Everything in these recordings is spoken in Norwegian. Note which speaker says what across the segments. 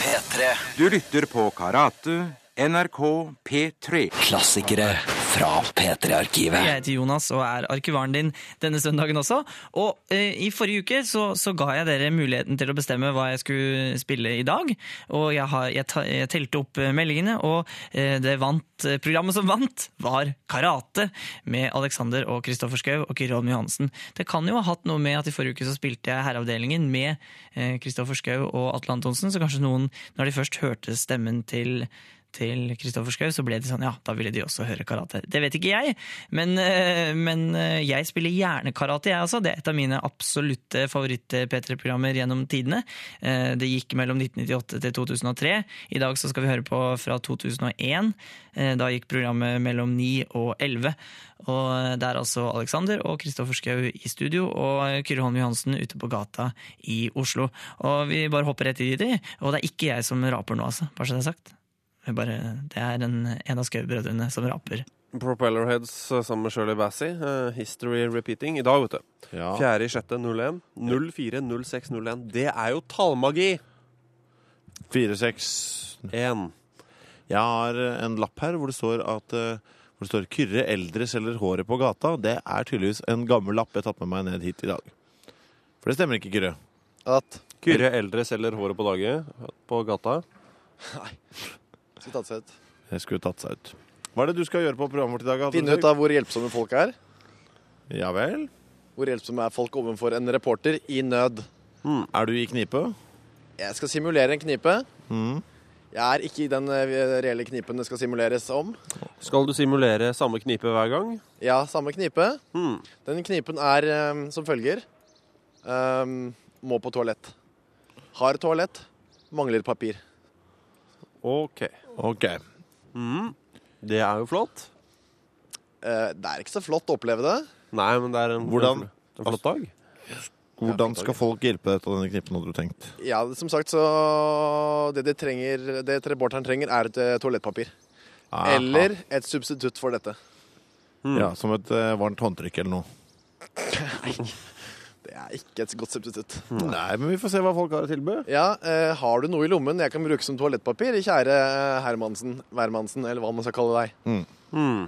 Speaker 1: P3.
Speaker 2: Du lytter på Karate, NRK P3.
Speaker 1: Klassikere fra P3-arkivet.
Speaker 3: Jeg heter Jonas og er arkivaren din denne søndagen også. Og eh, i forrige uke så, så ga jeg dere muligheten til å bestemme hva jeg skulle spille i dag. Og jeg, har, jeg, ta, jeg telte opp eh, meldingene, og eh, det vant, eh, programmet som vant, var Karate med Alexander og Kristoffer Schou og Kyrholm Johansen. Det kan jo ha hatt noe med at i forrige uke så spilte jeg Herreavdelingen med eh, Kristoffer Schou og Atle Antonsen, så kanskje noen, når de først hørte stemmen til til Kristoffer Schau, så ble de sånn, ja, da ville de også høre karate. Det vet ikke jeg, men, eh, men eh, jeg spiller gjerne karate, jeg også. Det er et av mine absolutte favoritt-P3-programmer gjennom tidene. Eh, Det gikk mellom 1998 til 2003. I dag så skal vi høre på fra 2001. Eh, Da gikk programmet mellom 9 og 11. Og det er altså Alexander og Kristoffer Schau i studio, og eh, Kyrre Holm Johansen ute på gata i Oslo. Og vi bare hopper rett i det, og det er ikke jeg som raper nå, altså. Bare så det er sagt. Jeg Bare, det er en, en av Skau-brødrene som raper.
Speaker 4: Propellerheads eh, sammen med Shirley Bassey. eh, History Repeating. I dag, vet du.
Speaker 5: Ja.
Speaker 4: 4.6.01. 040601. Det er jo tallmagi!
Speaker 5: Fire, seks
Speaker 4: En.
Speaker 5: Jeg har eh, en lapp her hvor det står at eh, hvor det står 'Kyrre eldre selger håret på gata'. Det er tydeligvis en gammel lapp jeg har tatt med meg ned hit i dag. For det stemmer ikke, Kyrre.
Speaker 6: At
Speaker 4: Kyrre eldre selger håret på dage på gata.
Speaker 6: Skal tatt sett.
Speaker 5: Jeg skulle tatt seg ut. Hva er det du skal gjøre på programmet vårt i dag? Atle?
Speaker 6: Finne ut av hvor hjelpsomme folk er.
Speaker 5: Ja vel?
Speaker 6: Hvor hjelpsomme er folk overfor en reporter i nød.
Speaker 5: Er du i knipe?
Speaker 6: Jeg skal simulere en knipe.
Speaker 5: Mhm.
Speaker 6: Jeg er ikke i den eh, reelle knipen det skal simuleres om.
Speaker 4: Skal du simulere samme knipe hver gang?
Speaker 6: Ja, samme knipe.
Speaker 4: Hmm.
Speaker 6: Den knipen er eh, som følger. Ehm, må på toalett. Har toalett. Mangler papir.
Speaker 4: OK.
Speaker 5: Ok.
Speaker 4: Det er jo flott.
Speaker 6: Eh, det er ikke så flott å oppleve det.
Speaker 4: Nei, men det er en,
Speaker 5: Hvordan-
Speaker 4: en flott dag.
Speaker 5: Hvordan skal folk hjelpe deg ut av denne knipen, hadde du tenkt?
Speaker 6: Ja, som sagt, så Det, de trenger, det reporteren trenger, er et eh, toalettpapir.
Speaker 5: Aha.
Speaker 6: Eller et substitutt for dette.
Speaker 5: ja, Som et eh, varmt håndtrykk eller noe.
Speaker 6: Det er ikke et godt substitutt.
Speaker 5: Nei, men vi får se hva folk har å tilby.
Speaker 6: Ja, eh, har du noe i lommen jeg kan bruke som toalettpapir, kjære eh, Hermansen, Værmannsen, eller hva man skal kalle deg?
Speaker 4: Hmm.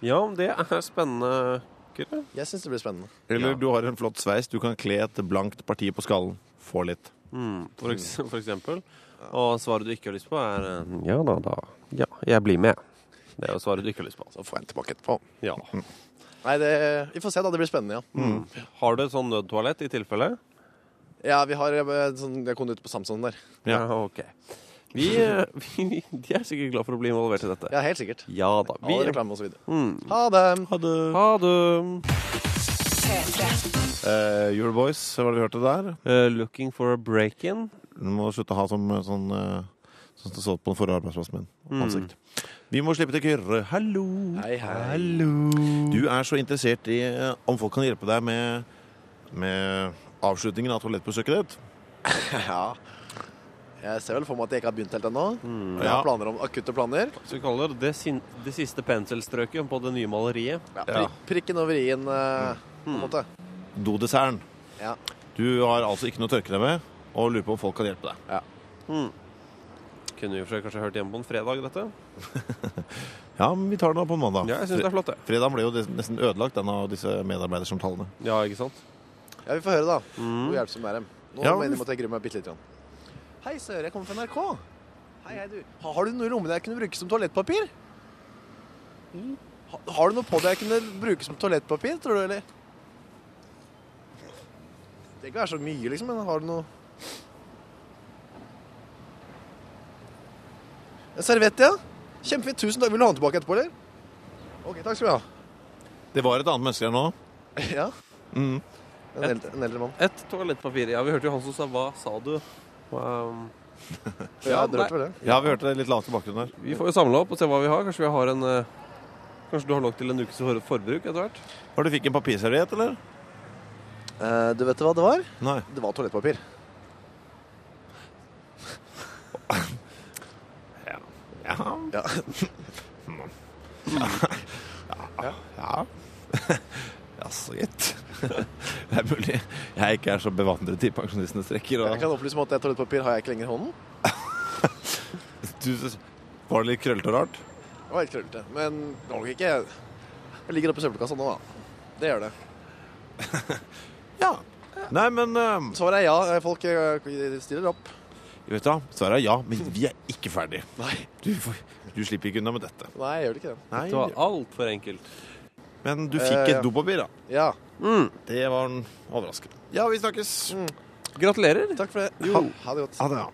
Speaker 4: Ja, det er spennende, Kyrre.
Speaker 6: Jeg syns det blir spennende.
Speaker 5: Eller du har en flott sveis, du kan kle et blankt parti på skallen. Få litt.
Speaker 4: Mm, for, eks for eksempel. Og svaret du ikke har lyst på, er eh, Ja da, da. Ja, jeg blir med. Det er jo svaret du ikke har lyst på. altså.
Speaker 6: Så får jeg den tilbake etterpå.
Speaker 4: Ja.
Speaker 6: Nei, det, vi får se, da. Det blir spennende, ja.
Speaker 4: Har du et sånn nødtoalett i tilfelle?
Speaker 6: Ja, vi har eh, sånn, Jeg kom ut på Samson der.
Speaker 5: Ja.
Speaker 4: ok. Vi, eh, vi, de er sikkert glad for å bli involvert i dette.
Speaker 6: Ja, helt sikkert.
Speaker 4: Ja da.
Speaker 6: All
Speaker 4: Vi, Mm.
Speaker 6: reklame og så videre. Ha det.
Speaker 4: ha det.
Speaker 5: Uh, your Boys, hva har du hørt det der?
Speaker 4: Eh, looking for a break-in.
Speaker 5: Du må slutte å ha som, eh, sånn eh, Sånn som det så ut på den forrige arbeidsplassen min.
Speaker 4: Mm.
Speaker 5: Ansikt. Vi må slippe til Kyrre. Hallo!
Speaker 6: Hei, hei.
Speaker 5: Du er så interessert i eh, om folk kan hjelpe deg med, med avslutningen av toalettbesøket ditt.
Speaker 6: Ja. Jeg ser vel for meg at jeg ikke har begynt helt ennå.
Speaker 4: Mm.
Speaker 6: Jeg
Speaker 5: Ja.
Speaker 6: har planer om akutte planer.
Speaker 4: Så vi kaller det det, sin, det siste penselstrøket på det nye maleriet.
Speaker 6: Ja, prik, prikken over i-en, eh, på en
Speaker 4: Mm.
Speaker 6: måte.
Speaker 5: Dodesserten.
Speaker 6: Ja.
Speaker 5: Du har altså ikke noe å tørke deg med, og lurer på om folk kan hjelpe deg.
Speaker 4: Kunne vi for seg kanskje hørt hjemme på en fredag, dette?
Speaker 5: Ja, men vi tar det nå på mandag.
Speaker 4: Ja, jeg syns det er flott, det.
Speaker 5: Fredag ble jo des- nesten ødelagt, den av disse medarbeidersamtalene.
Speaker 4: Ja, ikke sant?
Speaker 6: Ja, vi får høre, da. Hvor hjelpsom er dem. Nå
Speaker 5: Mm. Ja,
Speaker 6: mener
Speaker 5: men-
Speaker 6: jeg at jeg gruer meg bitte litt. Jan. Hei, sør, jeg kommer fra NRK. Hei, hei, du. Ha- Har du noe i lommen jeg kunne bruke som toalettpapir? Mm. Ha, har du noe på deg jeg kunne bruke som toalettpapir, tror du, eller? Det kan være så mye, liksom, men har du noe En serviett, ja. Kjempefint. Tusen takk. Vil du ha den tilbake etterpå, eller? OK, takk skal du ha.
Speaker 5: Det var et annet menneske her nå.
Speaker 6: Ja.
Speaker 5: Mm.
Speaker 6: En, eldre, en eldre mann.
Speaker 4: Et toalettpapir. Ja, vi hørte jo han som sa 'hva sa du'? Um,
Speaker 6: Ja,
Speaker 4: Ja,
Speaker 6: jeg drømte vel det.
Speaker 5: Ja, vi hørte det litt lavt i bakgrunnen her.
Speaker 4: vi får jo samle opp og se hva vi har. Kanskje vi har en eh, Kanskje du har nok til en ukes for forbruk etter hvert?
Speaker 5: Har du fikk en papirserviett, eller?
Speaker 6: Eh, du vet hva det var?
Speaker 5: Nei.
Speaker 6: Det var toalettpapir.
Speaker 5: Ja.
Speaker 6: Ja.
Speaker 5: Ja. Ja, så gitt. Det er mulig jeg ikke er så bevandret i pensjonistenes rekker.
Speaker 6: Jeg
Speaker 5: Og...
Speaker 6: kan opplyse om at det toalettpapir har jeg ikke lenger i hånden.
Speaker 5: Du, s- var det litt krøllete og rart?
Speaker 6: Det var helt krøllete. Men det var nok ikke Jeg ligger oppe i søppelkassa nå, da. Det gjør det.
Speaker 5: Ja. Nei, men eh,
Speaker 6: Svaret er ja. eh, Folk eh, stiller opp.
Speaker 5: Vet du hva? Svaret er ja, men vi er ikke ferdig.
Speaker 6: Nei,
Speaker 5: Du, får- du slipper ikke unna med dette.
Speaker 6: nei, jeg gjør det ikke det.
Speaker 5: Nei,
Speaker 4: Det var altfor enkelt.
Speaker 5: Men du fikk
Speaker 6: Eh,
Speaker 5: et dopapir, da.
Speaker 6: Ja.
Speaker 5: Det var en overraskelse. Ja, vi snakkes.
Speaker 4: Gratulerer.
Speaker 6: Takk for det.
Speaker 5: Jo.
Speaker 6: Ha, ha det godt.
Speaker 5: Ha det. ja.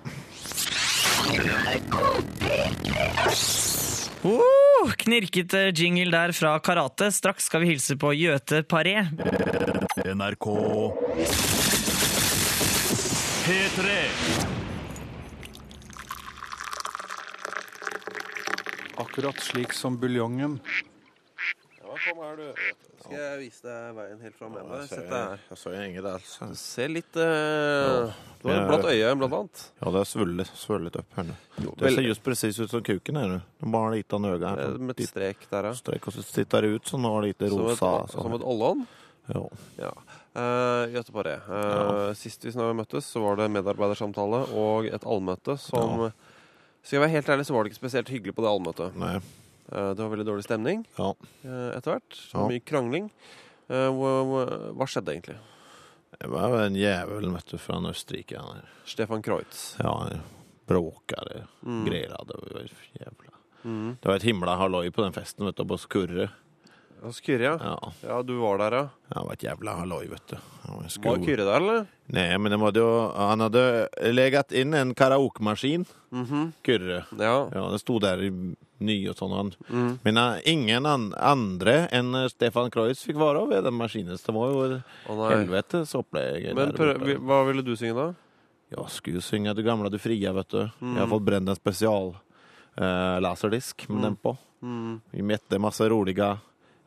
Speaker 3: Oh, knirkete jingle der fra karate. Straks skal vi hilse på Gjøte Paré.
Speaker 7: NRK P3
Speaker 8: Akkurat slik som buljongen.
Speaker 4: Ja, kom her, du. Skal jeg vise deg veien helt fram med deg? Sett deg her.
Speaker 5: Jeg så en henge der. altså.
Speaker 4: Se litt eh, Du har et blatt øye, blant annet.
Speaker 5: Ja, det er svullet, svullet opp her nå. Det
Speaker 4: vel-
Speaker 5: ser just presis ut som kuken her. du. Nå bare har det gitt han øye her.
Speaker 4: Eh, Med et strek der, ja.
Speaker 5: Strek, og så sitter det ut, så nå har det gitt det
Speaker 4: Som et,
Speaker 5: rosa.
Speaker 4: som et
Speaker 5: sånn.
Speaker 4: ollånd.
Speaker 5: Jo.
Speaker 4: Ja. Uh, Göteborg. eh, Sist vi snak- møttes, så var det medarbeidersamtale og et allmøte som Skal jeg være helt ærlig, så var det ikke spesielt hyggelig på det allmøtet.
Speaker 5: Nei.
Speaker 4: Eh, det var veldig dårlig stemning
Speaker 5: Ja.
Speaker 4: eh, etter hvert.
Speaker 5: Ja.
Speaker 4: Mye krangling. Eh, hva, hva- hva skjedde egentlig?
Speaker 5: Det var jo en jævel, vet du, fra en Østerrike. Han her.
Speaker 4: Stefan Kreutz.
Speaker 5: Ja, han bråkere
Speaker 4: Mm.
Speaker 5: greier. Det var jo jævla
Speaker 4: Mm.
Speaker 5: Det var et himla halloi på den festen, vet du, på Skurre.
Speaker 4: Og Kyrre, ja.
Speaker 5: Ja.
Speaker 4: ja. Du var der, ja.
Speaker 5: ja, det var et jævla halloi, vet du. Han var
Speaker 4: Var
Speaker 5: skur-
Speaker 4: Kyrre der, eller?
Speaker 5: Nei, men de hadde jo, han hadde legat inn en karaokemaskin,
Speaker 4: Mhm.
Speaker 5: Kurre.
Speaker 4: Ja.
Speaker 5: Ja, det stod der i ny og sånn. Han.
Speaker 4: Mm.
Speaker 5: Men eh, ingen an andre enn eh, Stefan Kreutz fikk være ved den maskinen. Så Det var jo
Speaker 4: Å nei.
Speaker 5: helvetes opplegg.
Speaker 4: Men
Speaker 5: der
Speaker 4: prøv,
Speaker 5: borte.
Speaker 4: vi- hva ville du synge, da?
Speaker 5: Jeg skulle jo synge 'Du gamla, du fria', vet du. Jeg har fått brent en spesial eh, laserdisk med den på.
Speaker 4: Mm.
Speaker 5: Vi møtte masse rolige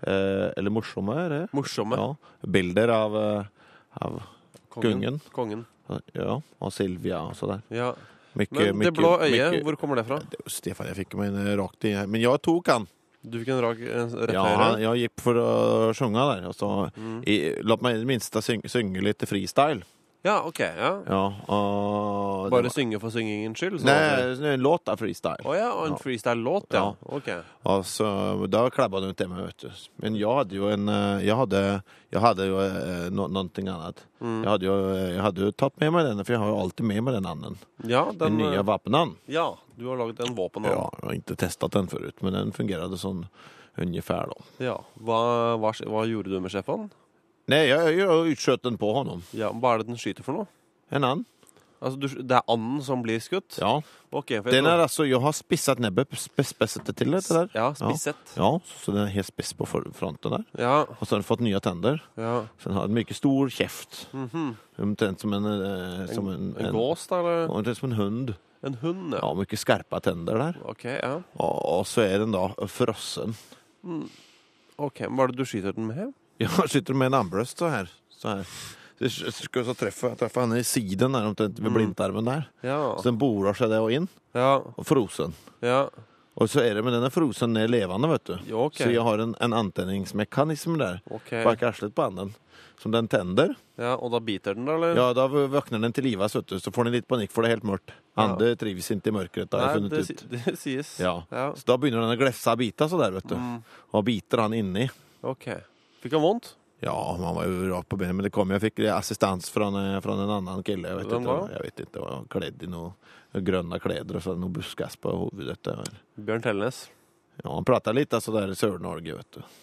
Speaker 5: eh, Eller morsomme, er det?
Speaker 4: Morsomme.
Speaker 5: Ja, bilder av, eh, av
Speaker 4: Kongen. Kongen.
Speaker 5: Ja, og Silvia og så der.
Speaker 4: Ja.
Speaker 5: Mycket-
Speaker 4: Men det
Speaker 5: mycket-
Speaker 4: blå øyet,
Speaker 5: mycket-
Speaker 4: hvor kommer det fra?
Speaker 5: Det er jo Stefan, jeg fikk meg en eh, rakt i her. Men jeg tok han.
Speaker 4: Du fikk en rak en rett
Speaker 5: Ja,
Speaker 4: høyre?
Speaker 5: jeg gikk for å sjunge der. Altså,
Speaker 6: Mm.
Speaker 5: i, la meg i det minste synge, synge litt freestyle.
Speaker 4: Ja, ok. ja.
Speaker 5: Ja, og,
Speaker 4: Bare synge for syngingens skyld? så-
Speaker 5: Nei, en låt er freestyle.
Speaker 4: Å ja, og en
Speaker 5: Ja.
Speaker 4: freestyle-låt, ja.
Speaker 5: Ja.
Speaker 4: Ok.
Speaker 5: Altså, da klabba det til meg, vet du. Men jeg hadde jo en eh, Jeg hadde, jeg hadde jo eh, no, noe annet.
Speaker 4: Mhm.
Speaker 5: Jeg, hadde jo, eh, jeg hadde jo tatt med meg denne, for jeg har jo alltid med meg den anden.
Speaker 4: Ja,
Speaker 5: Den
Speaker 4: den, eh,
Speaker 5: nye vapenen.
Speaker 4: ja, du har laget en våpen.
Speaker 5: Ja,
Speaker 4: Ja.
Speaker 5: jeg har ikke testet den forut, men den fungerte sånn ungefär, da.
Speaker 4: Ja. Hva, hva, skje- hva gjorde du med Stefan?
Speaker 5: Nei, jeg, jeg skjøt den på honom.
Speaker 4: Ja, hva er det den skyter for noe?
Speaker 5: En annen.
Speaker 4: Altså, du, det er anden som blir skutt?
Speaker 5: Ja.
Speaker 4: Ok, for jeg
Speaker 5: Den er
Speaker 4: tror-
Speaker 5: altså, Jeg har spisset nebbet. sp- Spesset det til, dette der.
Speaker 4: Ja, spissett.
Speaker 5: Ja, så den er helt spiss på for- fronten der.
Speaker 4: Ja,
Speaker 5: Og så har den fått nye tenner.
Speaker 4: ja.
Speaker 5: Så den har en mye stor kjeft. Omtrent som en, eh, som en,
Speaker 4: Mhm. En, gås, da? Eller
Speaker 5: Omtrent som en hund.
Speaker 4: en hund? Ja.
Speaker 5: Ja, mye skarpe tenner der.
Speaker 4: Ok, ja.
Speaker 5: Og, og så er den da frossen.
Speaker 4: Ok, men Hva er det du skyter den med?
Speaker 5: Ja, sitter med en armbrøst så her. Så her. Så sk- skal så treffe, jeg treffer henne i siden der, omtrent ved blindtarmen der.
Speaker 4: Mm. Ja.
Speaker 5: Så den borer seg det og inn.
Speaker 4: Ja.
Speaker 5: Og frosen.
Speaker 4: ja.
Speaker 5: Og så er det, men den er frosen ned levende, vet du.
Speaker 4: Jo, ok.
Speaker 5: Så jeg har en, en antenningsmekanisme der.
Speaker 4: Ok.
Speaker 5: Bak arslet på anden. Som den tänder.
Speaker 4: ja. Og da biter den, da? eller?
Speaker 5: Ja, da våkner den til live, vet du. Så får den litt panikk, for det er helt mørkt. Andre trives ikke i mørket, har jeg
Speaker 4: Nei, det,
Speaker 5: funnet
Speaker 4: si-
Speaker 5: ut.
Speaker 4: det sies.
Speaker 5: Ja.
Speaker 4: ja. Mm.
Speaker 5: Så da begynner den å glefse og bite så der, vet du. Og biter han inni.
Speaker 4: Ok. Fikk han vondt?
Speaker 5: Ja, man var jo rart på benet, men det kom. Jeg fikk assistans fra en, fra en annen kille. Jeg vet
Speaker 4: Hvem
Speaker 5: ikke,
Speaker 4: da?
Speaker 5: jeg vet ikke. Han var kledd i noe grønne kleder og så noe buskas på hovedet. Ja,
Speaker 4: Bjørn Tellenes.
Speaker 5: han pratet litt, altså, der i Sør-Norge, vet du.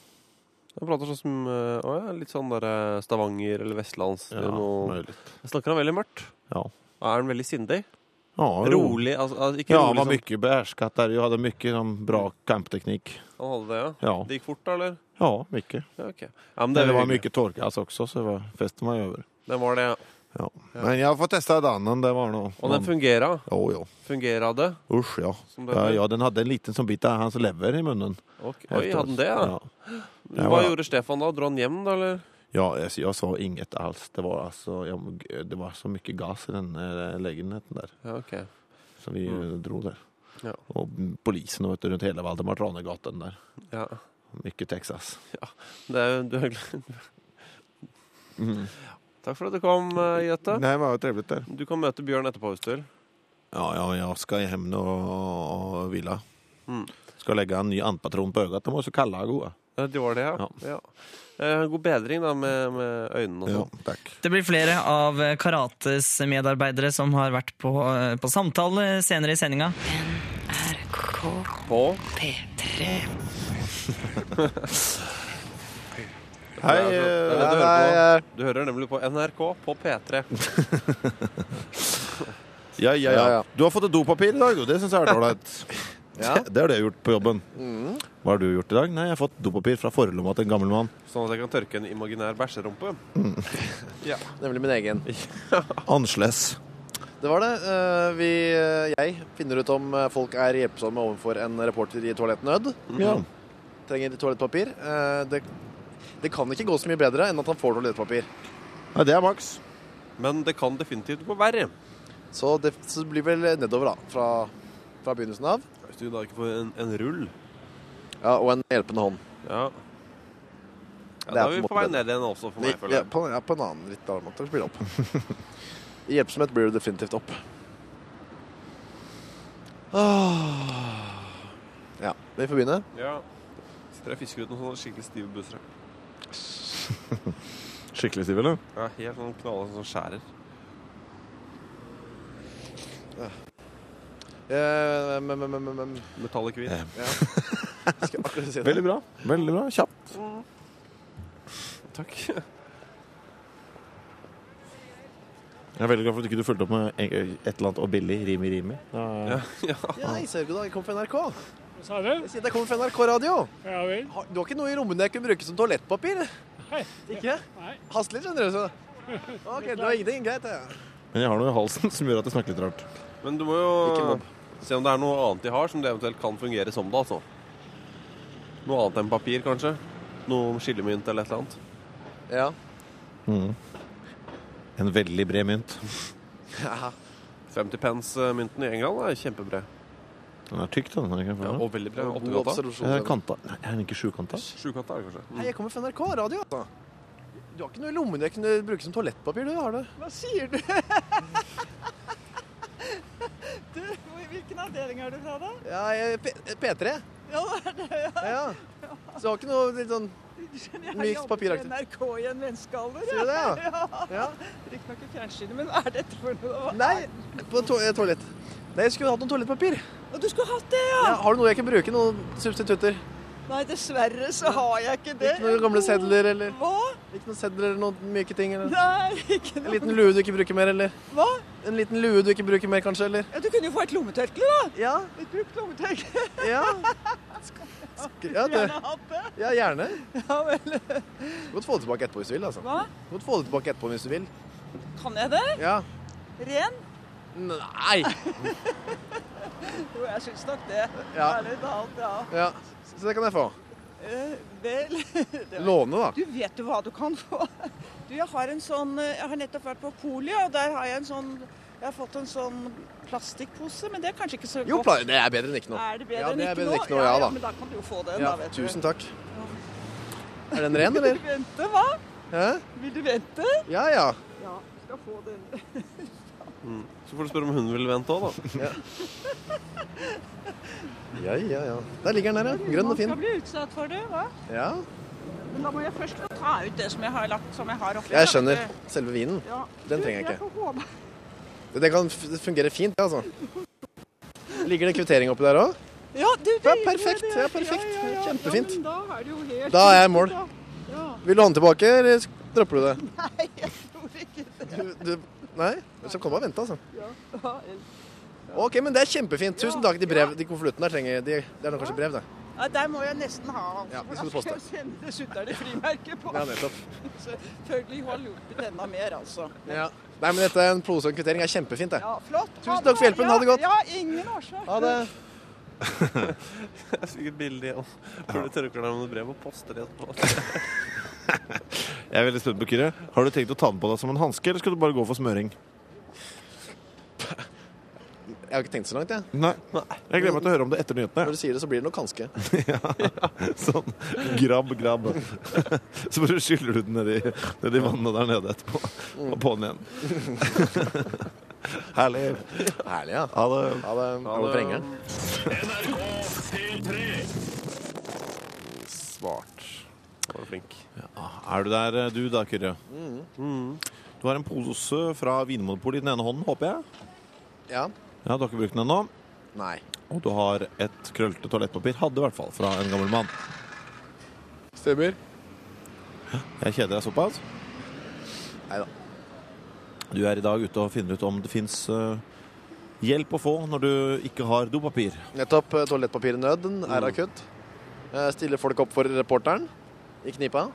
Speaker 4: Han prater sånn som eh, å, ja, litt sånn der eh, Stavanger eller Vestlands.
Speaker 5: Ja,
Speaker 4: eller noe.
Speaker 5: möjligt.
Speaker 4: Jeg snakker han veldig mørkt.
Speaker 5: Ja.
Speaker 4: Og Er han veldig sindig?
Speaker 5: ja jo.
Speaker 4: Rolig? Altså, altså, ikke
Speaker 5: Ja, han
Speaker 4: rolig
Speaker 5: var
Speaker 4: sånn.
Speaker 5: mycket behärskat där. Jag hade mycket sån sånn bra kampteknikk.
Speaker 4: Han hadde det, ja.
Speaker 5: Ja.
Speaker 4: Det gikk fort, da, eller?
Speaker 5: Ja, mycket.
Speaker 4: Ja, ok. Ja, men
Speaker 5: Det,
Speaker 4: det, var
Speaker 5: det var
Speaker 4: hyggelig.
Speaker 5: mycket torkas också, så det var, fäste man ju över.
Speaker 4: Den var det, ja.
Speaker 5: Ja. Men jag får testa dannen, det var nog...
Speaker 4: Og den fungera?
Speaker 5: Jo, jo.
Speaker 4: Fungera det?
Speaker 5: Usch, ja.
Speaker 4: Som det
Speaker 5: ja.
Speaker 4: heter.
Speaker 5: Ja, den hade en liten som bit av hans lever i munnen.
Speaker 4: Ok. Oi, hadde den det, ja?
Speaker 5: Ja, Det
Speaker 4: Hva
Speaker 5: var-
Speaker 4: gjorde Stefan da? Dro han hjem, da, eller?
Speaker 5: ja alltså, jag sa inget alls. Det var, alltså, jag, det var så mycket gas i den eh, lägenheten där.
Speaker 4: Ja, ok.
Speaker 5: Så vi eh, drog där.
Speaker 4: Mm. Ja.
Speaker 5: Och polisen och vet du, runt hela Valdemar Tranegatan där.
Speaker 4: Ja.
Speaker 5: Mycket Texas.
Speaker 4: Det er jo du er glad. Takk for at du kom, eh, Jette.
Speaker 5: Nej, men vad trevligt där.
Speaker 4: Du kan møte Bjørn etterpå hvis du vil.
Speaker 5: Ja, ja, jeg skal hjem nå og, og hvile.
Speaker 4: Mm.
Speaker 5: Skal legge en ny andpatron på øyet. Det må også kalle det gode.
Speaker 4: Eh, Det var det, ja. ja. Eh, God bedring da med, med øynene og
Speaker 5: Ja,
Speaker 4: sånn.
Speaker 5: takk.
Speaker 3: Det blir flere av Karates medarbeidere som har vært på, eh, på samtale senere i sendinga.
Speaker 9: NRK
Speaker 4: sånn. På
Speaker 9: P3.
Speaker 5: Hei,
Speaker 4: Ja, du,
Speaker 5: eh,
Speaker 4: eller, du,
Speaker 6: Nei,
Speaker 4: hører
Speaker 6: eh,
Speaker 4: på, du hører nemlig på NRK på P3.
Speaker 5: ja, ja,
Speaker 6: Ja,
Speaker 5: ja.
Speaker 6: ja.
Speaker 5: Du har fått et dopapir i dag, jo. Det syns jeg er ålreit.
Speaker 6: Ja.
Speaker 5: Det det har du gjort på jobben. Hva har du gjort i dag? Nei, jeg har fått dopapir fra forlomma til en gammel mann.
Speaker 4: Sånn at jeg kan tørke en imaginær bæsjerumpe.
Speaker 6: Nemlig min egen.
Speaker 5: Annerledes.
Speaker 6: Det var det. Eh, Vi, eh, jeg finner ut om eh, folk er hjelpsomme overfor en reporter i toalettnød.
Speaker 5: Ja.
Speaker 6: Trenger toalettpapir. Eh, Det, det kan ikke gå så mye bedre enn at han får toalettpapir.
Speaker 5: Nei, det er maks.
Speaker 4: Men det kan definitivt gå verre.
Speaker 6: Så det så det blir vel nedover, da. Fra, fra begynnelsen av.
Speaker 4: Hvis du da ikke får en, en rull.
Speaker 6: Ja, og en hjelpende hånd.
Speaker 4: Ja. ja
Speaker 6: er
Speaker 4: da er
Speaker 6: på en
Speaker 4: vi
Speaker 6: måte
Speaker 4: på vei
Speaker 6: bedre.
Speaker 4: ned igjen også, for meg,
Speaker 6: Nei,
Speaker 4: føler
Speaker 6: ja,
Speaker 4: jeg.
Speaker 6: på, ja, på en annen litt annen måte. Spille opp. Hjelpsomhet blir du definitivt opp. Åh. Ah. Ja, vi får begynne.
Speaker 4: Ja. Sitter og fisker ut noen sånne skikkelig stive busser.
Speaker 5: Skikkelig stiv, eller?
Speaker 4: Ja, helt sånn knalla sånn som skjærer.
Speaker 6: Eh, men, men, men, men, men.
Speaker 4: Metallic hvit.
Speaker 6: Ja. Skal akkurat si det.
Speaker 5: Veldig bra. Veldig bra. Kjapt.
Speaker 4: Takk.
Speaker 5: Jeg er veldig glad for at du ikke fulgte opp med et eller annet og billig rimi-rimi.
Speaker 4: Ja, ja.
Speaker 6: Ja, jeg ser ikke da, jeg kommer fra NRK.
Speaker 10: Hva sa du?
Speaker 6: Jeg sier at jeg kommer fra NRK Radio.
Speaker 10: Ja vel.
Speaker 6: Har- Du har ikke noe i rommene jeg kunne bruke som toalettpapir?
Speaker 10: Nei.
Speaker 6: Ikke?
Speaker 10: Nei.
Speaker 6: Hast litt, skjønner du. Så. Ok, det var ingenting. Greit, det.
Speaker 5: Men jeg har noe i halsen som gjør at det snakker litt rart.
Speaker 4: Men du må
Speaker 6: Ikke
Speaker 4: jo
Speaker 6: mobb.
Speaker 4: se om det er noe annet de har som det eventuelt kan fungere som det, altså. Noe annet enn papir, kanskje? Noe skillemynt eller et eller annet?
Speaker 6: Ja.
Speaker 5: En veldig bred mynt.
Speaker 4: 50 pence-mynten eh, i England er kjempebred.
Speaker 5: Den er tykk, da. Den er
Speaker 4: Ja,
Speaker 5: ikke
Speaker 4: og veldig bred.
Speaker 6: God
Speaker 4: Åttegata.
Speaker 6: observasjon.
Speaker 5: ja, kanta. Nei, er den ikke sjukanta?
Speaker 4: Sjukatta er det kanskje.
Speaker 6: Hei, jeg kommer fra NRK Radio. altså. Du har ikke noe i lommene jeg kunne bruke som toalettpapir, du, har du?
Speaker 10: Hva sier du? du, hvilken avdeling er du fra da?
Speaker 6: Ja, jeg, P P3.
Speaker 10: Ja, det er det, ja.
Speaker 6: Ja. Så du har ikke noe litt sånn
Speaker 10: Jeg
Speaker 6: Mye
Speaker 10: jobbet
Speaker 6: papiraktig.
Speaker 10: i NRK i en menneskealder.
Speaker 6: Sier du det, ja?
Speaker 10: ja?
Speaker 6: Ja.
Speaker 10: Riktignok i fjernsynet, men hva er dette for noe?
Speaker 6: Nei, på to eh, toalett. Nei, jeg skulle hatt noe toalettpapir.
Speaker 10: Og du skulle hatt det, ja!
Speaker 6: Ja, har du noe jeg kan bruke? Noen substitutter?
Speaker 10: Nei, dessverre så har jeg ikke det.
Speaker 6: Ikke noen gamle sedler eller
Speaker 10: Hva?
Speaker 6: Ikke noen sedler eller noen myke ting? Eller?
Speaker 10: Nei, ikke
Speaker 6: En
Speaker 10: noe.
Speaker 6: liten lue du ikke bruker mer, eller?
Speaker 10: Hva?
Speaker 6: En liten lue du ikke bruker mer, kanskje? Eller?
Speaker 10: Ja, du kunne jo få et lommetørkle, da.
Speaker 6: Ja.
Speaker 10: Et brukt lommetørkle.
Speaker 6: Ja. Ja, det.
Speaker 10: Gjerne hatt det.
Speaker 6: ja, gjerne.
Speaker 10: Ja vel.
Speaker 6: Godt få det tilbake etterpå hvis du vil. altså.
Speaker 10: Hva?
Speaker 6: Godt få det tilbake etterpå hvis du vil.
Speaker 10: Kan jeg det?
Speaker 6: Ja.
Speaker 10: Ren?
Speaker 6: Nei!
Speaker 10: Jo, jeg syns nok det.
Speaker 6: Ja.
Speaker 10: Ærlig talt, ja.
Speaker 6: Ja, Så det kan jeg få.
Speaker 10: Eh, vel det var-
Speaker 6: Låne, da.
Speaker 10: Du vet jo hva du kan få. Du, jeg har en sånn eh, Jeg har nettopp vært på polet, og der har jeg en sånn Jeg har fått en sånn plastikkpose, men det er kanskje ikke så
Speaker 6: Jo,
Speaker 10: godt.
Speaker 6: pla- det er bedre enn ikke noe.
Speaker 10: Er det bedre
Speaker 6: Ja, det er bedre
Speaker 10: enn
Speaker 6: enn ikke noe, ja da.
Speaker 10: Men da kan du jo få den,
Speaker 6: Ja,
Speaker 10: da, vet
Speaker 6: tusen
Speaker 10: du.
Speaker 6: takk. Er den ren,
Speaker 10: Vil
Speaker 6: eller?
Speaker 10: du vente, hva?
Speaker 6: Hæ?
Speaker 10: Vil du vente?
Speaker 6: Ja, ja.
Speaker 10: Ja, du skal få den.
Speaker 4: Så får du spørre om hun vil vente òg, da.
Speaker 6: Ja, ja, ja. Der ligger den der, ja. Grønn og fin.
Speaker 10: Man skal bli utsatt for det, hva?
Speaker 6: Ja,
Speaker 10: Men da må jeg først få ta ut det som jeg har lagt, som jeg har oppi. da,
Speaker 6: jeg
Speaker 10: vet
Speaker 6: skjønner.
Speaker 10: du.
Speaker 6: Selve vinen.
Speaker 10: Ja.
Speaker 6: Den
Speaker 10: Du,
Speaker 6: trenger jeg ikke.
Speaker 10: får håpe-
Speaker 6: Det kan f- fungere fint, det, altså. Ligger det kvittering oppi der òg?
Speaker 10: Ja, du, det
Speaker 6: Ja,
Speaker 10: gjør
Speaker 6: perfekt,
Speaker 10: det.
Speaker 6: ja, perfekt. Kjempefint.
Speaker 10: Ja, men da er det jo helt
Speaker 6: Da er jeg i mål.
Speaker 10: Ja. Ja,
Speaker 6: Vil du ha den tilbake, eller sk- dropper du det?
Speaker 10: Nei, jeg tror ikke det.
Speaker 6: Du, du, nei? Så kan du bare vente, altså.
Speaker 10: Ja, ja, eller-
Speaker 6: OK, men det er kjempefint. Tusen takk. De brev, de konvoluttene der trenger de, Det er nok kanskje brev, det.
Speaker 10: Ja, der må jeg nesten ha
Speaker 6: Ja, det
Speaker 10: for
Speaker 6: skal du
Speaker 10: da
Speaker 6: poste.
Speaker 10: jeg sende sutterne frimerke på.
Speaker 6: Ja, nettopp.
Speaker 10: Selvfølgelig har hjulpet enda mer, altså.
Speaker 6: Ja. Nei, men dette er en pose og en kvittering. er kjempefint, det.
Speaker 10: Ja, flott. Ha
Speaker 6: Tusen takk for
Speaker 10: bra.
Speaker 6: hjelpen. Ha det godt.
Speaker 10: Ja, ja ingen årsak.
Speaker 6: Ha det.
Speaker 4: Jeg fikk et bilde igjen. Hvor du tørker deg med noe brev og poster det etterpå.
Speaker 5: Jeg er veldig spent på Kyrre. Har du tenkt å ta den på deg som en hanske, eller skal du bare gå for smøring?
Speaker 6: Jeg har ikke tenkt så langt, jeg.
Speaker 5: Nei. Jeg gleder meg til å høre om det etter nyhetene.
Speaker 6: Når du sier det, så blir det nok kanskje.
Speaker 5: Sånn grabb, grabb. Så bare skyller du den nedi ned i vannet der nede etterpå. Og på'n igjen. Herlig.
Speaker 6: Herlig, ja.
Speaker 5: Ha det.
Speaker 6: Ha det. Hvorfor henger den?
Speaker 7: NRK P3
Speaker 4: Smart. Var du flink.
Speaker 5: Er du der, eh, du da, Kyrre? Mm. Du har en pose fra Vinmonopolet i den ene hånden, håper jeg.
Speaker 6: Ja.
Speaker 5: Ja, Du har ikke brukt den ennå.
Speaker 6: Nei.
Speaker 5: Og du har et krøllete toalettpapir. Hadde i hvert fall fra en gammel mann.
Speaker 6: Stemmer.
Speaker 5: Jeg kjeder deg såpass.
Speaker 6: Neida.
Speaker 5: Du er i dag ute og finner ut om det fins hjelp å få når du ikke har dopapir.
Speaker 6: Nettopp. eh, Toalettpapirnøden er akutt. Eh, Stiller folk opp for reporteren i knipa?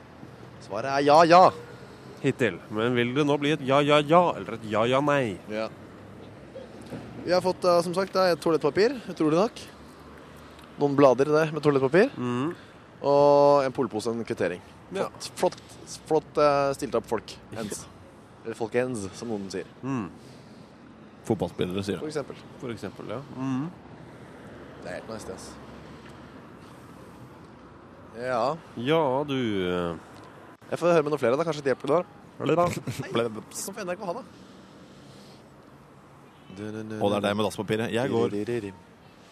Speaker 6: Svaret er ja, ja.
Speaker 4: Hittil. Men vil det nå bli et ja-ja-ja eller et ja-ja-nei?
Speaker 6: Ja. Vi har fått eh, som sagt da, et toalettpapir, utrolig nok. Noen blader der med toalettpapir.
Speaker 5: Mm.
Speaker 6: Og en polepose og en kvittering.
Speaker 4: Ja.
Speaker 6: Flott, flott, flott eh, stilt opp folk. Hens. Eller folkens, som noen sier.
Speaker 5: Fotballspillere, sier
Speaker 6: For
Speaker 5: jeg.
Speaker 6: eksempel.
Speaker 4: Mm. For eksempel, ja.
Speaker 6: Mm. Det er helt nice, det, altså. Ja
Speaker 4: Ja, du eh,
Speaker 6: Jeg får høre med noen flere, da. Kanskje det hjelper. da.
Speaker 5: Og
Speaker 6: Kom på NRK, ha det.
Speaker 5: det er deg med dasspapiret. Jeg går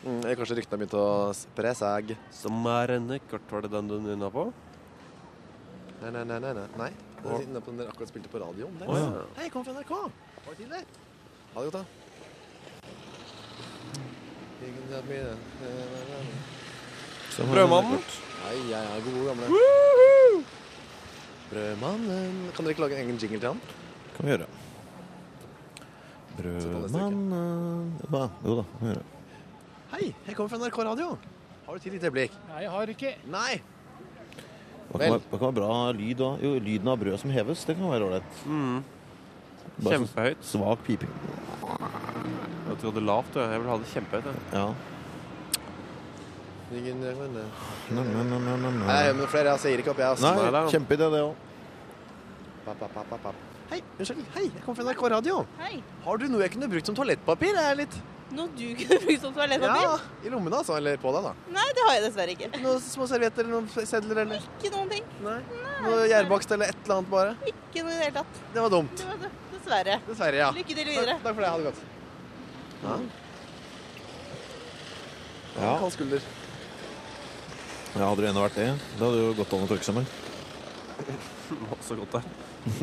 Speaker 6: Mm, eller kanskje ryktene har begynt å spre seg.
Speaker 4: Som er en nøkkert, var det den du nynna på?
Speaker 6: Nei, nei, nei. nei, nei. nei. Det er siden den akkurat spilte på radioen. Det.
Speaker 4: Å ja.
Speaker 6: Hei, jeg kommer fra NRK. Var det til deg? Ha det godt, da.
Speaker 4: Brødmannen?
Speaker 6: Hei, jeg er gode gamle. Brødmannen. Kan dere ikke lage en egen jingle til han?
Speaker 5: kan vi gjøre.
Speaker 6: neste uke.
Speaker 5: Brødmannen Hva? Jo da, kan vi gjøre.
Speaker 6: Hei, jeg kommer fra NRK Radio. Har du tid et øyeblikk?
Speaker 8: Nei, jeg har ikke.
Speaker 6: Nei.
Speaker 5: Det kan,
Speaker 6: Vel.
Speaker 5: være, det kan være bra lyd òg. Jo, lyden av brød som heves, det kan være ålreit.
Speaker 6: Mm.
Speaker 5: Bare sånn
Speaker 4: Kjempehøyt.
Speaker 5: Svak piping.
Speaker 4: Jeg trodde lavt. Jeg Jeg vil ha det kjempehøyt. Jeg.
Speaker 5: Ja.
Speaker 6: eh, Nei,
Speaker 5: Nei, nei, nei, nei, nei.
Speaker 6: jeg er med flere. Jeg sier ikke opp, jeg.
Speaker 5: Nei,
Speaker 6: altså.
Speaker 4: da.
Speaker 5: kjempeidé, det òg.
Speaker 6: Pa, pa, pa, pa, pa. Hei, unnskyld. Hei, jeg kommer fra NRK Radio.
Speaker 11: Hei.
Speaker 6: Har du noe jeg kunne brukt som toalettpapir? Jeg er litt...
Speaker 11: Noe du kunne brukt som sånn toalettpapir?
Speaker 6: Ja, i lommene altså, eller på deg da.
Speaker 11: Nei, det har jeg dessverre ikke.
Speaker 6: Noen små servietter, noen sedler eller...
Speaker 11: Ikke noen ting.
Speaker 6: Nei. Noe gjærbakst eller et eller annet bare.
Speaker 11: Ikke noe i det hele tatt.
Speaker 6: Det var dumt.
Speaker 11: Det var det. Dessverre.
Speaker 6: Dessverre, ja.
Speaker 11: Lykke til videre.
Speaker 6: Takk, takk for det. Ha det godt. Ja.
Speaker 5: Ja.
Speaker 6: Kald skulder.
Speaker 5: Ja, hadde du ennå vært det, da hadde det jo gått an å tørke seg med.
Speaker 4: Å, Så godt det er.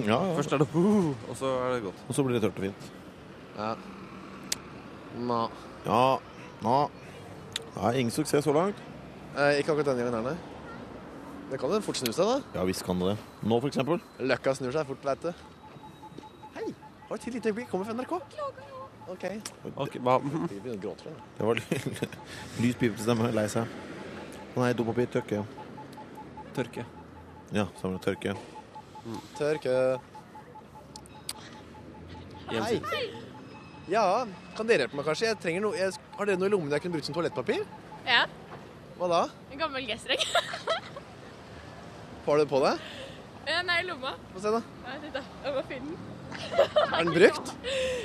Speaker 5: Ja, ja.
Speaker 4: Først er det «Huh», og så er det godt.
Speaker 5: Og så blir det tørt og fint.
Speaker 6: Ja. Nå.
Speaker 5: Ja. Nå. Nei, ingen suksess så langt.
Speaker 6: Eh, ikke akkurat denne gangen her, nei. Det kan jo fort snu seg, da.
Speaker 5: Ja visst kan det det. Nå, for eksempel.
Speaker 6: Løkka snur seg fort, vet du. Hei, har du tid lite øyeblikk? Kommer fra NRK. Ok.
Speaker 4: Ok, hva?
Speaker 6: Vi begynner å gråte for det.
Speaker 5: Det var lys pipete stemme. Lei seg. Å Nei, dopapir. Tørke.
Speaker 4: Tørke.
Speaker 5: Ja, så var det tørke.
Speaker 6: Tørke. Hei.
Speaker 4: Hjemsiden.
Speaker 6: Ja, kan dere hjelpe meg, kanskje? Jeg trenger noe. Jeg, har dere noe i lommen jeg kunne brukt som toalettpapir?
Speaker 11: Ja.
Speaker 6: Hva da?
Speaker 11: En gammel G-streng.
Speaker 6: Har du det på deg?
Speaker 11: Nei, i lomma.
Speaker 6: Få se, da.
Speaker 11: Nei, titt da. Jeg må finne den.
Speaker 6: Er den brukt?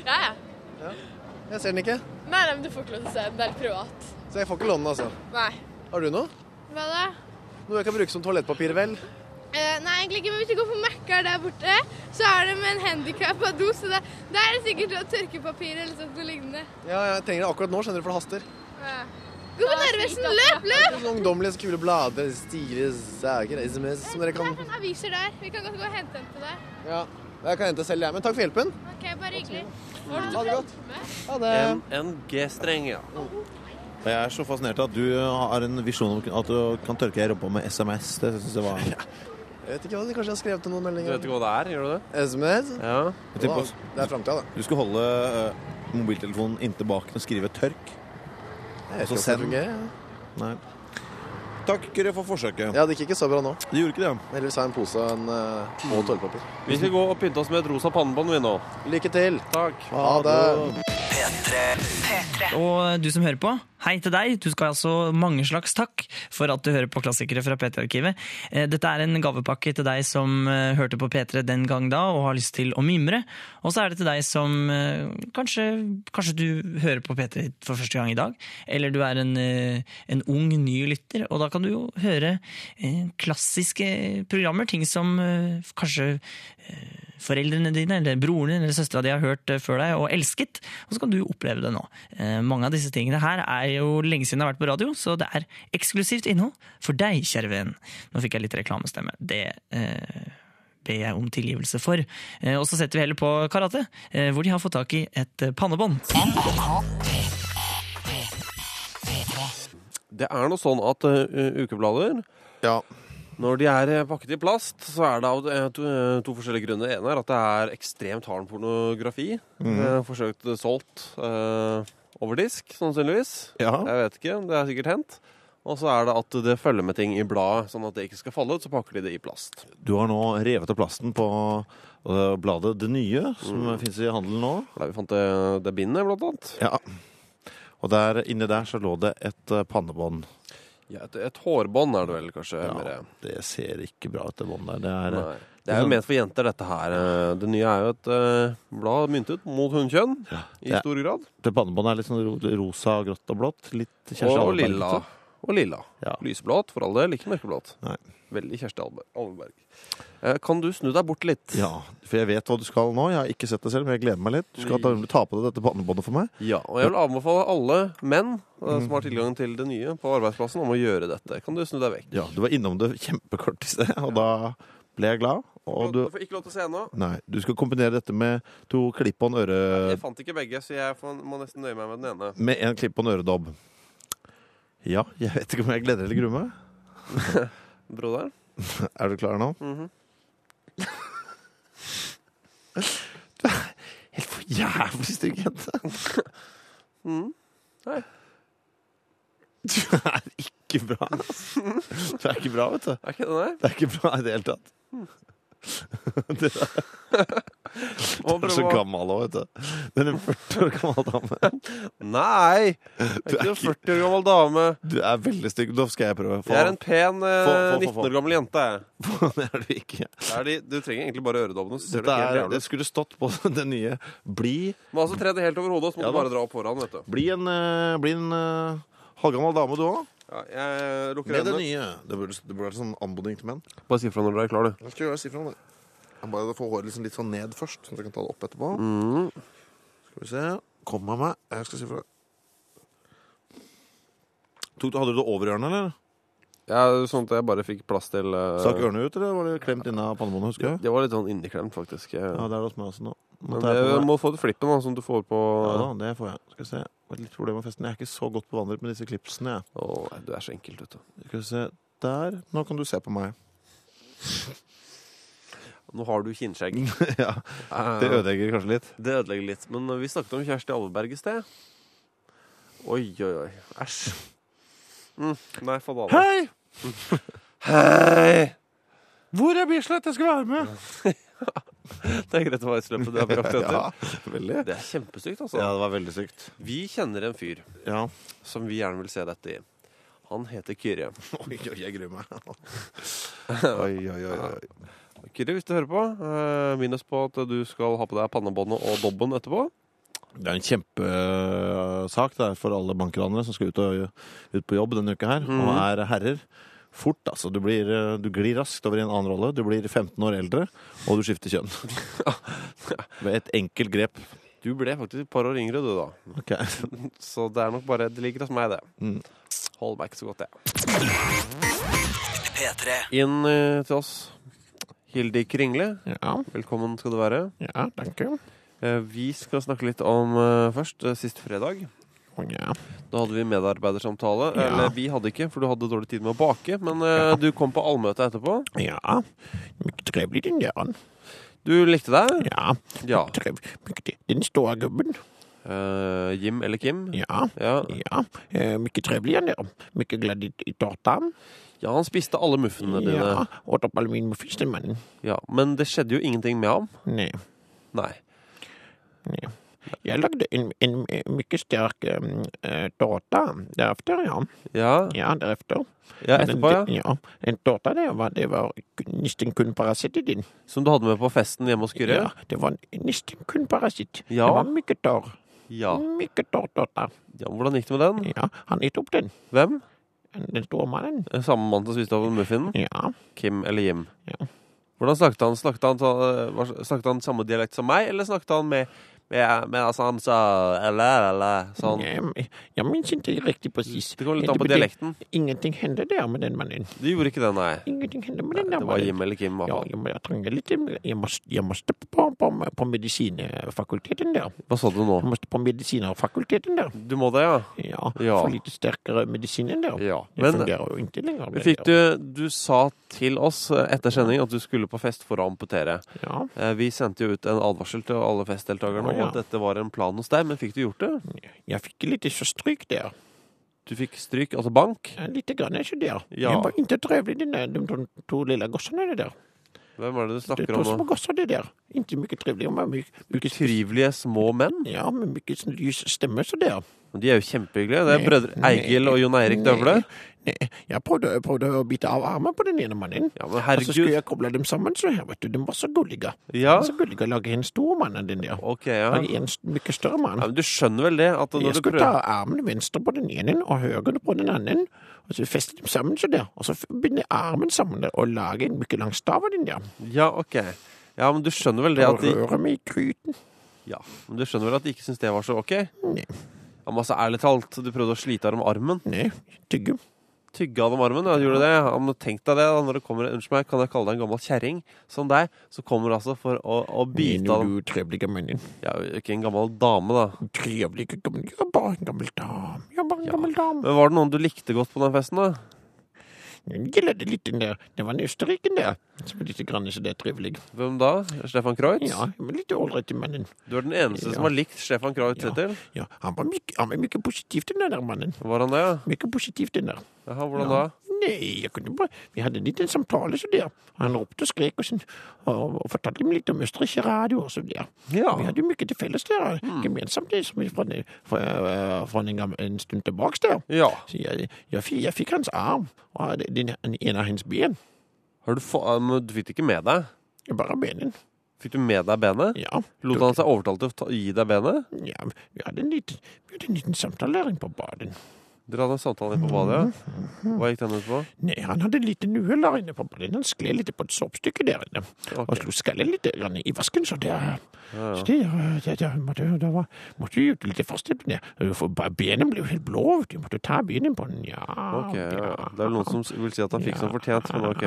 Speaker 11: Ja, ja.
Speaker 6: Jeg ser den ikke.
Speaker 11: Nei, nei, men du får ikke lov til å se den. Det er privat.
Speaker 6: Så jeg får ikke låne den, altså.
Speaker 11: Nei.
Speaker 6: Har du noe?
Speaker 11: Hva da?
Speaker 6: Noe jeg kan bruke som toalettpapir, vel?
Speaker 11: Eh, nei, egentlig ikke. Men hvis du går på Mækkar der borte, så er det med en handikappa do, så det, det er det sikkert noe tørkepapir eller sånt noe lignende.
Speaker 6: Ja, jeg trenger det akkurat nå, skjønner du, for det haster.
Speaker 11: Gå på Narvesen! Løp, løp!
Speaker 6: Sånne ungdommelige, kule blader, stilige saker, SMS, som dere kan
Speaker 11: sånne aviser der. Vi kan godt gå og hente en til deg.
Speaker 6: Ja, jeg kan hente selv, jeg. Men takk for hjelpen.
Speaker 11: Ok, bare hyggelig.
Speaker 6: Ha det godt. Ha det.
Speaker 4: En, en G-streng, ja.
Speaker 5: Og Jeg er så fascinert av at du har en visjon om at du kan tørke deg i rumpa med SMS. Det synes jeg var Jeg
Speaker 6: Jeg vet ikke hva det Kanskje jeg har skrevet
Speaker 4: Du
Speaker 6: noen
Speaker 4: vet
Speaker 6: meldinger?
Speaker 4: ikke hva det er, gjør du det?
Speaker 6: SMS?
Speaker 4: Ja.
Speaker 5: tenker
Speaker 6: Wow,
Speaker 5: på-
Speaker 6: det er framtida, det.
Speaker 5: Du skal holde eh, mobiltelefonen inntil baken og skrive 'tørk'.
Speaker 6: Jeg vet
Speaker 5: Og så
Speaker 6: ikke om
Speaker 5: send.
Speaker 6: det fungerer, jeg.
Speaker 5: Nei. Takk, Kyrre, for forsøket.
Speaker 6: Ja, det gikk ikke så bra nå.
Speaker 5: Du gjorde ikke det.
Speaker 6: Heldigvis har jeg en pose og en, eh, og toalettpapir.
Speaker 4: Vi skal gå og pynte oss med et rosa pannebånd, vi nå.
Speaker 6: Lykke til.
Speaker 4: Takk.
Speaker 6: Ha det.
Speaker 3: Og du som hører på, Hei til deg. Du skal altså mange slags takk for at du hører på klassikere fra P3-arkivet. Eh, Dette er en gavepakke til deg som eh, hørte på P3 den gang da og har lyst til å mimre. Og så er det til deg som eh, kanskje, kanskje du hører på P3 for første gang i dag, eller du er en, eh, en ung, ny lytter, og da kan du jo høre eh, klassiske programmer, ting som eh, kanskje foreldrene dine, eller broren din, eller søstera di har hørt eh, før deg og elsket, og så kan du oppleve det nå. Eh, Mange av disse tingene her er jo lenge siden det har vært på radio, så det er eksklusivt innhold for deg, kjære venn. Nå fikk jeg litt reklamestemme. Det eh, ber jeg om tilgivelse for. Eh, Og så setter vi heller på karate, eh, hvor de har fått tak i et eh, pannebånd.
Speaker 4: Det er noe sånn at eh, ukeblader Når de er eh, pakket i plast, så er det av eh, to, eh, to forskjellige grunner. Det ene er at det er ekstremt hard pornografi.
Speaker 5: Mhm.
Speaker 4: Eh, forsøkt eh, solgt eh, over disk, sannsynligvis. Jeg vet ikke, det er sikkert hendt. Og så er det at det følger med ting i bladet, sånn at det ikke skal falle ut. Så pakker de det i plast.
Speaker 5: Du har nå revet av plasten på øh, bladet Det Nye, som
Speaker 4: Mm.
Speaker 5: finnes i handelen nå.
Speaker 4: Der vi fant det, det bindet, blant annet.
Speaker 5: Ja. Og der, inni der så lå det et øh, pannebånd.
Speaker 4: Ja, et, et hårbånd er det vel, kanskje. mer.
Speaker 5: Det ser ikke bra ut, det båndet der. Det er,
Speaker 4: Nei. Det er jo ment for jenter, dette her. Eh, Det nye er jo et eh, blad myntet mot hunnkjønn i
Speaker 5: Ja.
Speaker 4: stor grad.
Speaker 5: Det pannebåndet er litt sånn ro- rosa, grått og blått. Litt Kjersti
Speaker 4: Og
Speaker 5: Ahlberg,
Speaker 4: lilla.
Speaker 5: også.
Speaker 4: Og lilla. Lysblått for all del, ikke mørkeblått.
Speaker 5: liksom. Nei.
Speaker 4: Veldig Kjersti Albe- Alberg. Eh, Kan du snu deg bort litt?
Speaker 5: Ja, for jeg vet hva du skal nå. Jeg har ikke sett det selv, men jeg gleder meg litt. Du skal ta, ta på deg dette pannebåndet for meg.
Speaker 4: Ja, og jeg vil anbefale alle menn eh, som har tilgang til det nye på arbeidsplassen, om å gjøre dette. Kan du snu deg vekk?
Speaker 5: Ja, Du var innom det kjempekort i sted, og da ble jeg glad. Og du,
Speaker 4: Du får ikke lov til å se ennå.
Speaker 5: nei, du skal kombinere dette med to klippånd øre...
Speaker 4: Jeg fant ikke begge, så jeg får- må nesten nøye meg med den ene.
Speaker 5: Med en klippånd øredobb. Ja, jeg vet ikke om jeg gleder eller gruer meg.
Speaker 4: Broderen?
Speaker 5: er du klar nå?
Speaker 4: Mhm.
Speaker 5: Helt for jævlig stygg jente.
Speaker 4: Mm. Nei.
Speaker 5: Du er ikke bra. ass. Du er ikke bra, vet du.
Speaker 4: Er ikke det det?
Speaker 5: Det er ikke bra i det hele tatt. Du er,
Speaker 4: Må
Speaker 5: du er så
Speaker 4: prøve å-
Speaker 5: gammel òg, vet du. Du er en 40 år gammel dame.
Speaker 4: Nei! Jeg er
Speaker 5: Du
Speaker 4: ikke
Speaker 5: er
Speaker 4: noen 40 år gammel dame.
Speaker 5: Du er veldig stygg. Nå skal jeg prøve.
Speaker 4: Jeg er en pen eh,
Speaker 5: Få- få- få-
Speaker 4: 19
Speaker 5: få.
Speaker 4: år gammel jente. jeg.
Speaker 5: Det er du ikke.
Speaker 4: Det er de, du trenger egentlig bare øredobbene. Så ser du
Speaker 5: Dette
Speaker 4: helt
Speaker 5: er,
Speaker 4: jævlig
Speaker 5: det
Speaker 4: ut.
Speaker 5: skulle stått på det nye. Bli,
Speaker 4: Må altså tre det helt over hodet, og så må du
Speaker 5: Ja da.
Speaker 4: bare dra opp foran. vet du.
Speaker 5: bli en, eh, bli en eh, halvgammel dame, du òg.
Speaker 4: Ja, jeg lukker
Speaker 5: Med det
Speaker 4: øynene.
Speaker 5: nye. Det burde, det burde vært sånn anmodning til menn.
Speaker 4: Bare si ifra når du er klar, du.
Speaker 5: Jeg skal gjøre si fra om det. Jeg bare får håret liksom litt sånn ned først, så jeg kan ta det opp etterpå.
Speaker 4: Mm.
Speaker 5: Skal vi se. Kom med meg. Jeg skal si fra. Tok du- Hadde du det over ørene, eller?
Speaker 4: Ja, sånn at jeg bare fikk plass til eh,
Speaker 5: Stakk ørene ut, eller var det klemt inne av pannebåndet? husker jeg?
Speaker 4: Det var litt sånn inneklemt, faktisk. Jeg-
Speaker 5: Ja, det er det hos meg også nå. Nå
Speaker 4: Men
Speaker 5: tar jeg på
Speaker 4: jeg
Speaker 5: meg-
Speaker 4: må få ut flippen, da, sånn at du får på
Speaker 5: Ja da, det får jeg. Skal vi se. Det var Litt problem med festen. Jeg er ikke så godt bevandret med disse klipsene, jeg.
Speaker 4: Å, nei, du er så enkelt, vet du.
Speaker 5: Skal vi se. Der. Nå kan du se på meg.
Speaker 4: Nå har du kinnskjegg.
Speaker 5: ja. Det ødelegger kanskje litt.
Speaker 4: Det ødelegger litt. Men vi snakket om Kjersti Alveberg i sted. Oi, oi, oi. Æsj. Mm. Nei, faen
Speaker 5: Hei!
Speaker 4: Hei!
Speaker 5: Hvor er Bislett? Jeg skal være med!
Speaker 4: Det er greit å være i sløpet. Det er på jakt etter.
Speaker 5: Ja, veldig.
Speaker 4: Det er kjempestygt, altså.
Speaker 5: Ja, det var veldig sykt.
Speaker 4: Vi kjenner en fyr
Speaker 5: Ja.
Speaker 4: som vi gjerne vil se dette i. Han heter Kyrre.
Speaker 5: Oi, oi, jeg gruer meg. Oi, oi, oi. oi.
Speaker 4: Kyrre, hvis du hører på, eh, minn oss på at du skal ha på deg pannebåndet og dobben etterpå.
Speaker 5: Det er en kjempesak det er for alle bankranere som skal ut, og, ut på jobb denne uka her, og er herrer. Fort, altså. Du, blir, eh, du glir raskt over i en annen rolle. Du blir 15 år eldre, og du skifter kjønn. Med et enkelt grep.
Speaker 4: Du ble faktisk et par år yngre, du, da.
Speaker 5: Ok.
Speaker 4: Så det er nok bare Det ligger hos meg, det.
Speaker 5: Mm.
Speaker 4: Hold meg ikke så godt, jeg.
Speaker 1: P3.
Speaker 4: Inn eh, til oss. Hilde Kringle,
Speaker 5: Ja,
Speaker 4: velkommen skal du være.
Speaker 5: ja, takk.
Speaker 4: Eh, Vi skal snakke litt om eh, først eh, sist fredag.
Speaker 5: Ja.
Speaker 4: Da hadde vi medarbeidersamtale.
Speaker 5: Ja.
Speaker 4: Eller vi hadde ikke, for du hadde dårlig tid med å bake. Men eh, du kom på allmøte etterpå.
Speaker 5: ja. Mycket trevlig, den døren.
Speaker 4: Du likte deg?
Speaker 5: Ja.
Speaker 4: Ja.
Speaker 5: Mycket, den store gubben.
Speaker 4: Eh, Jim eller Kim?
Speaker 5: Ja.
Speaker 4: Ja.
Speaker 5: Ja, eh, mycket trevlig han där. Mycket glad i, i tårtan.
Speaker 4: ja, han spiste alle muffinene dine.
Speaker 5: Ja, åt upp all min muffins den mannen.
Speaker 4: Ja. Men det skjedde jo ingenting med ham.
Speaker 5: Nej,
Speaker 4: Nei.
Speaker 5: nej. Jeg lagde en, en mye sterk um, eh, tårta deretter, ja.
Speaker 4: Ja,
Speaker 5: deretter.
Speaker 4: Ja,
Speaker 5: Men
Speaker 4: etterpå, ja.
Speaker 5: det- ja. En tårta, det var, det var nesten kun parasitten.
Speaker 4: Som du hadde med på festen hjemme hos Kyrre?
Speaker 5: Ja, det var nesten kun parasitt.
Speaker 4: Ja.
Speaker 5: Det var mye tørr.
Speaker 4: Ja.
Speaker 5: Mye tørr tårta.
Speaker 4: Ja, hvordan gikk det med den?
Speaker 5: Ja, Han spiste opp den.
Speaker 4: Hvem?
Speaker 5: Den store mannen.
Speaker 4: Samme mann som spiste av muffinen?
Speaker 5: Ja.
Speaker 4: Kim eller Jim? Ja. Hvordan snakket han? Snakket han, så- eh, hva- snakket han samme dialekt som meg, eller snakket han med med, med altså han sa eller, eller, sånn.
Speaker 5: Ja, men- Jeg minnes ikke riktig presis.
Speaker 4: Det kommer litt an på
Speaker 5: betyr-
Speaker 4: dialekten.
Speaker 5: Ingenting hendte der med den mannen.
Speaker 4: Du gjorde ikke det, nei?
Speaker 5: Ingenting hendte med den
Speaker 4: Nei,
Speaker 5: der
Speaker 4: det var Jim eller Kim, i hvert
Speaker 5: Ja,
Speaker 4: fall.
Speaker 5: jeg, må- jeg trenger litt Jeg må, jeg må steppe på, på, på medisinfakulteten der.
Speaker 4: Hva sa du nå?
Speaker 5: Jeg må steppe på medisinerfakulteten der.
Speaker 4: Du må det, ja?
Speaker 5: Ja.
Speaker 4: Ja.
Speaker 5: For litt sterkere medisinen der.
Speaker 4: Ja.
Speaker 5: Det
Speaker 4: Men-
Speaker 5: fungerer jo ikke lenger. det
Speaker 4: Fikk
Speaker 5: der.
Speaker 4: du, du sa til oss eh, etter sending at du skulle på fest for å amputere. Eh, Vi sendte jo ut en advarsel til alle festdeltakerne
Speaker 5: Å,
Speaker 4: om
Speaker 5: ja.
Speaker 4: at dette var en plan hos deg, men fikk du gjort det?
Speaker 5: Jeg fikk litt så stryk der.
Speaker 4: Du fikk stryk, altså bank?
Speaker 5: Ja, Litt grann, ikke der.
Speaker 4: Ja.
Speaker 5: Jeg var ikke trevlig, de, der- de to, to lille gossene det der.
Speaker 4: Hvem er det du
Speaker 5: Det er
Speaker 4: snakker
Speaker 5: to
Speaker 4: om nå?
Speaker 5: små gosser, det der. Ikke mye trivelig. men mye- mye-
Speaker 4: Trivelige små menn?
Speaker 5: Ja, med mye sånn lys stemme, så det.
Speaker 4: Men De er jo kjempehyggelige. Det er
Speaker 5: Eh, Nei, eh,
Speaker 4: brødre Eigil og Jon Eirik
Speaker 5: nei,
Speaker 4: Døvle.
Speaker 5: Nei, jeg prøvde, prøvde å bite av armen på den ene mannen.
Speaker 4: Ja, men
Speaker 5: Og så
Speaker 4: herregud.
Speaker 5: Altså, skulle jeg altså, koble dem sammen, så her, vet du, de var så gullige.
Speaker 4: Ja.
Speaker 5: Så gullige å lage en stor mann av den der.
Speaker 4: Ok, ja.
Speaker 5: Lage en s- mye større mann.
Speaker 4: Ja, men du skjønner vel det? At når
Speaker 5: Jeg
Speaker 4: du
Speaker 5: skulle
Speaker 4: prøver
Speaker 5: ta armen venstre på den ene og høyre på den andre, og så feste dem sammen så der, og så binde armen sammen der, og lage en mye lang stav av den der.
Speaker 4: Ja, ok. Ja, men du skjønner vel det at de
Speaker 5: Og røre meg i gryten.
Speaker 4: Ja, men du skjønner vel at de ikke syns det var så ok? Ja, men altså, ærlig talt, du prøvde å slite av dem armen?
Speaker 5: Nei, tygge.
Speaker 4: Tygge av dem armen, ja, du gjorde det? Ja, men tenk deg det, da, når det kommer, unnskyld meg, kan jeg kalle deg en gammel kjerring som deg, så kommer du altså for å, å bite av dem
Speaker 5: Du trevlige mannen.
Speaker 4: Ja, ikke en gammel dame, da.
Speaker 5: Trevlige gammel Jeg er bare en gammel dame. Jeg er bare en gammel dame.
Speaker 4: Men var det noen du likte godt på den festen, da?
Speaker 5: Jeg gillade litt den der. Det var en østerriken der. Som var litt grann så det er trivelig.
Speaker 4: Hvem da? Stefan Kreutz?
Speaker 5: Ja, men litt ålreit i mannen.
Speaker 4: Du er den eneste som har likt Stefan Kreutz hittil.
Speaker 5: Ja, han var, myk, han var mye positiv, den der mannen.
Speaker 4: Var han det, ja?
Speaker 5: Mye positiv, den der.
Speaker 4: Jaha, hvordan
Speaker 5: ja.
Speaker 4: da?
Speaker 5: Nei, jeg kunne bare Vi hadde litt en samtale, så der. Han ropte og skrek og sånn. Og, og fortalte meg litt om østerriksk radio og så der.
Speaker 4: Ja. Mm.
Speaker 5: Vi hadde jo mye til felles der. Gemensamt det som vi fra, den- fra, øh, fra en, gam- en stund tilbake der.
Speaker 4: Ja.
Speaker 5: Så jeg, jeg, fikk, jeg fikk hans arm og den, den ene av hans ben.
Speaker 4: Har du, få, eh, men du fikk det ikke med deg?
Speaker 5: Bare benen.
Speaker 4: Fikk du med deg benet?
Speaker 5: Ja.
Speaker 4: Lot han seg overtale til å ta, gi deg benet?
Speaker 5: Ja, vi hadde en liten, vi hadde en liten samtalering på baden.
Speaker 4: Dere hadde en samtale inne på badet, ja?
Speaker 5: Mhm.
Speaker 4: Hva gikk den ut på?
Speaker 5: Nei, han hadde en liten uhell der inne på baden. Han skled litt på et soppstykke der inne. Og slo skallet litt eh, grann i vasken, så det
Speaker 4: Ja,
Speaker 5: Så eh,
Speaker 4: ja.
Speaker 5: det, det, det måtte, det var, måtte jo litt fasthjelp ned. Eh, For ba- benet ble jo helt blå. vet Du måtte ta benet på den. Ah, Ja.
Speaker 4: Ok, ja. ja. Det er vel noen som s- vil si at han fikk
Speaker 5: Ja.
Speaker 4: som fortjent, men ok.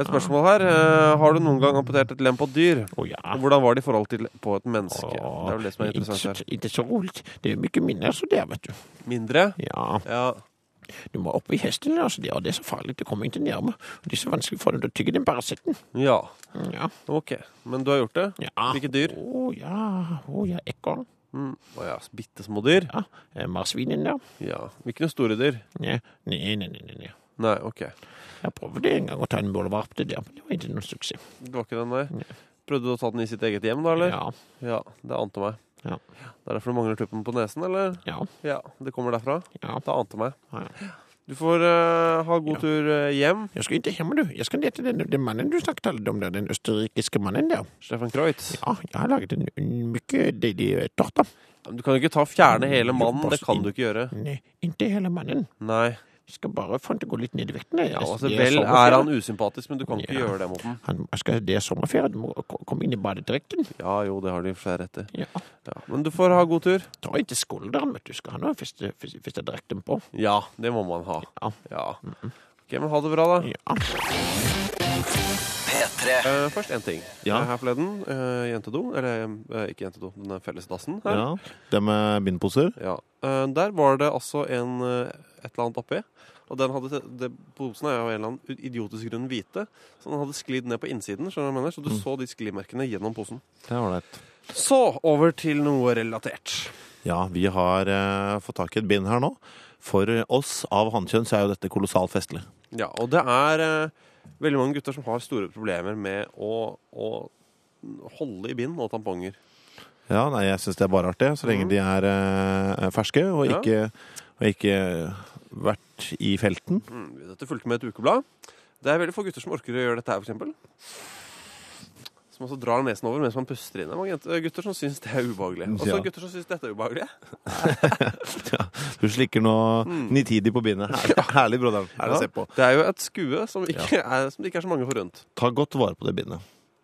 Speaker 4: Et spørsmål her. eh, Har du noen gang amputert et lem på et dyr? Og Hvordan var det i forhold til på et menneske? Det er vel det som er
Speaker 5: Ikke
Speaker 4: interessant
Speaker 5: så,
Speaker 4: her.
Speaker 5: ikke så rolig. Det er jo mye mindre så det, vet du.
Speaker 4: Mindre?
Speaker 5: Ja. Du må opp i hesten, altså, det, og det er så farlig. Du kommer ikke nærme. Og Det er så vanskelig for deg å tygge den parasitten. Mm,
Speaker 4: Ja.
Speaker 5: Ja.
Speaker 4: Ok. Men du har gjort det?
Speaker 5: Ah.
Speaker 4: Hvilket dyr?
Speaker 5: Å ja, å ja, ekorn.
Speaker 4: Mm. Å ja, bitte små dyr?
Speaker 5: Ja. eh, Marsvinen der.
Speaker 4: ja. Ikke noen store dyr?
Speaker 5: Nei, nei, nei. nei, nei.
Speaker 4: Nei, ok.
Speaker 5: Jeg prøvde en gang å ta en målvarp til der, men det var ikke noen suksess.
Speaker 4: Det var ikke den, nei. Prøvde du å ta den i sitt eget hjem, da? eller? Ja. det ante meg.
Speaker 5: Ja.
Speaker 4: Det er derfor du mangler tuppen på nesen, eller?
Speaker 5: Ja.
Speaker 4: det kommer derfra?
Speaker 5: Ja.
Speaker 4: Det ante meg.
Speaker 5: Ja.
Speaker 4: Du får eh, ha god tur eh, hjem.
Speaker 5: Jeg skal ikke hjem, du. Jeg skal lete den, den mannen du snakket alle om, der, den østerrikiske mannen der.
Speaker 4: Stefan Kreutz.
Speaker 5: Ja, jeg har laget en, en mye deilig eh, torta.
Speaker 4: Men Du kan jo ikke ta og fjerne hele mannen. Det kan du ikke gjøre.
Speaker 5: Nei, ikke hele mannen.
Speaker 4: Nei.
Speaker 5: Jeg skal bare få han til å gå litt ned i vekten. jeg.
Speaker 4: Ja, altså,
Speaker 5: Det
Speaker 4: vel
Speaker 5: sommerferie.
Speaker 4: er han usympatisk, men du kan ikke
Speaker 5: Ja.
Speaker 4: gjøre det mot ham.
Speaker 5: Han jeg skal, det er sommerferie, du må ko- komme inn i badedrakten.
Speaker 4: Ja, jo, det har de i og for seg rett i.
Speaker 5: Ja.
Speaker 4: Men du får ha god tur.
Speaker 5: Ta ikke skulderen, vet du. Skal han ha feste- feste- festedrakten på?
Speaker 4: Ja, det må man ha. Ja. Ok, men ha det bra, da. P3. først én ting.
Speaker 12: Ja.
Speaker 4: Eh, Her forleden, eh, jentedo, eller eh, ikke jentedo, den fellesdassen her.
Speaker 12: Ja, det med bindposer.
Speaker 4: Ja. Eh, der var det altså en, eh, et eller annet oppi. Og den hadde, det, posen er jo av en eller annen idiotisk grunn hvite, så den hadde sklidd ned på innsiden. skjønner du hva jeg mener? Så du så de sklimerkene gjennom posen.
Speaker 12: Det er ålreit.
Speaker 4: Så over til noe relatert.
Speaker 12: Ja, vi har eh, fått tak i et bind her nå. For oss av hannkjønn så er jo dette kolossalt festlig.
Speaker 4: Ja, og det er eh, veldig mange gutter som har store problemer med å, å holde i bind og tamponger.
Speaker 5: Ja, nei, jeg syns det er bare artig, så
Speaker 12: Mm.
Speaker 5: lenge de er eh, ferske og
Speaker 4: Ja.
Speaker 5: ikke, og ikke vært i felten.
Speaker 4: Mm, dette fulgte med et ukeblad. Det er veldig få gutter som orker å gjøre dette her, for eksempel. Som også drar nesen over mens man puster inn. Det er mange jenter, gutter som syns det er ubehagelig. Og så
Speaker 5: Ja.
Speaker 4: gutter som syns dette er ubehagelig.
Speaker 5: ja, du slikker nå
Speaker 4: Mm.
Speaker 5: nitidig på bindet. Herlig, herlig broderen. Herlig å se på.
Speaker 4: Det er jo et skue som, ikke er, som det ikke er så mange forunt.
Speaker 5: Ta godt vare på det bindet.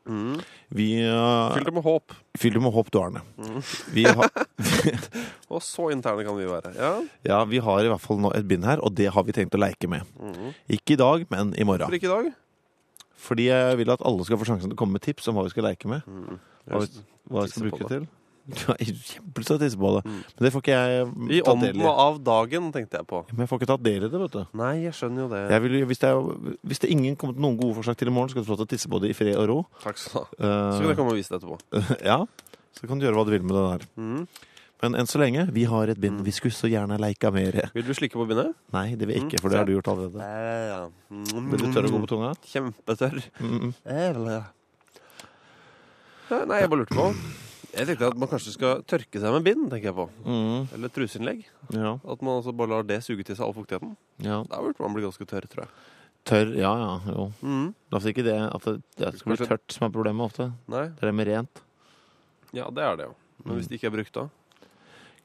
Speaker 4: Mm.
Speaker 5: Vi, eh,
Speaker 4: Fyll det med håp.
Speaker 5: Fyll det med håp, du Arne.
Speaker 4: Mm.
Speaker 5: Vi har,
Speaker 4: og så interne kan vi være. Ja.
Speaker 5: ja, vi har i hvert fall nå et bind her, og det har vi tenkt å leke med.
Speaker 4: Mhm.
Speaker 5: Ikke i dag, men i
Speaker 4: Hvorfor
Speaker 5: morgen.
Speaker 4: ikke i dag?
Speaker 5: Fordi jeg vil at alle skal få sjansen til å komme med tips om hva vi skal leke med.
Speaker 4: Jeg
Speaker 5: Hva
Speaker 4: har
Speaker 5: vi, hva vi skal
Speaker 4: Mm. tisse
Speaker 5: bruke
Speaker 4: på Mm.
Speaker 5: det til. Du har kjempelyst til å tisse på det, men det får ikke jeg
Speaker 4: I
Speaker 5: mm, tatt del
Speaker 4: ånden av dagen, tenkte jeg på.
Speaker 5: Men jeg får ikke tatt del i det, vet du.
Speaker 4: Nei, jeg skjønner jo det.
Speaker 5: Jeg vil, jo- hvis, det er, hvis det ingen kommer til noen gode forslag til i morgen, skal du få lov til å tisse på det i fred og ro.
Speaker 4: Takk skal du ha.
Speaker 5: Eh,
Speaker 4: Så kan jeg komme og vise det etterpå. Mm.
Speaker 5: ja. Så kan du gjøre hva du vil med det der. Men enn så lenge, vi har et bind. Vi skulle så gjerne leika mer.
Speaker 4: Vil du slikke på bindet?
Speaker 5: Nei, det vil jeg
Speaker 4: Mm,
Speaker 5: ikke, for det har
Speaker 4: se.
Speaker 5: du gjort allerede.
Speaker 4: Ja, ja.
Speaker 5: Vil du tørre å gå på tunga?
Speaker 4: Kjempetørr.
Speaker 5: Mm,
Speaker 4: Ja, vel, ja. Ja, Nei, jeg bare lurte på. Jeg tenkte at man kanskje skal tørke seg med bind, tenker jeg på.
Speaker 5: Mhm.
Speaker 4: Eller truseinnlegg.
Speaker 5: Ja.
Speaker 4: At man altså bare lar det suge til seg all fuktigheten.
Speaker 5: Ja.
Speaker 4: Da burde man bli ganske tørr, tror jeg.
Speaker 5: Tørr, ja ja, jo.
Speaker 4: Mm.
Speaker 5: Det er altså ikke det at det, det skal bli
Speaker 4: Kanskje-
Speaker 5: tørt som er problemet ofte.
Speaker 4: Nei. Mm.
Speaker 5: Det er det med rent.
Speaker 4: Ja, det er det jo. Men hvis det ikke er brukt da?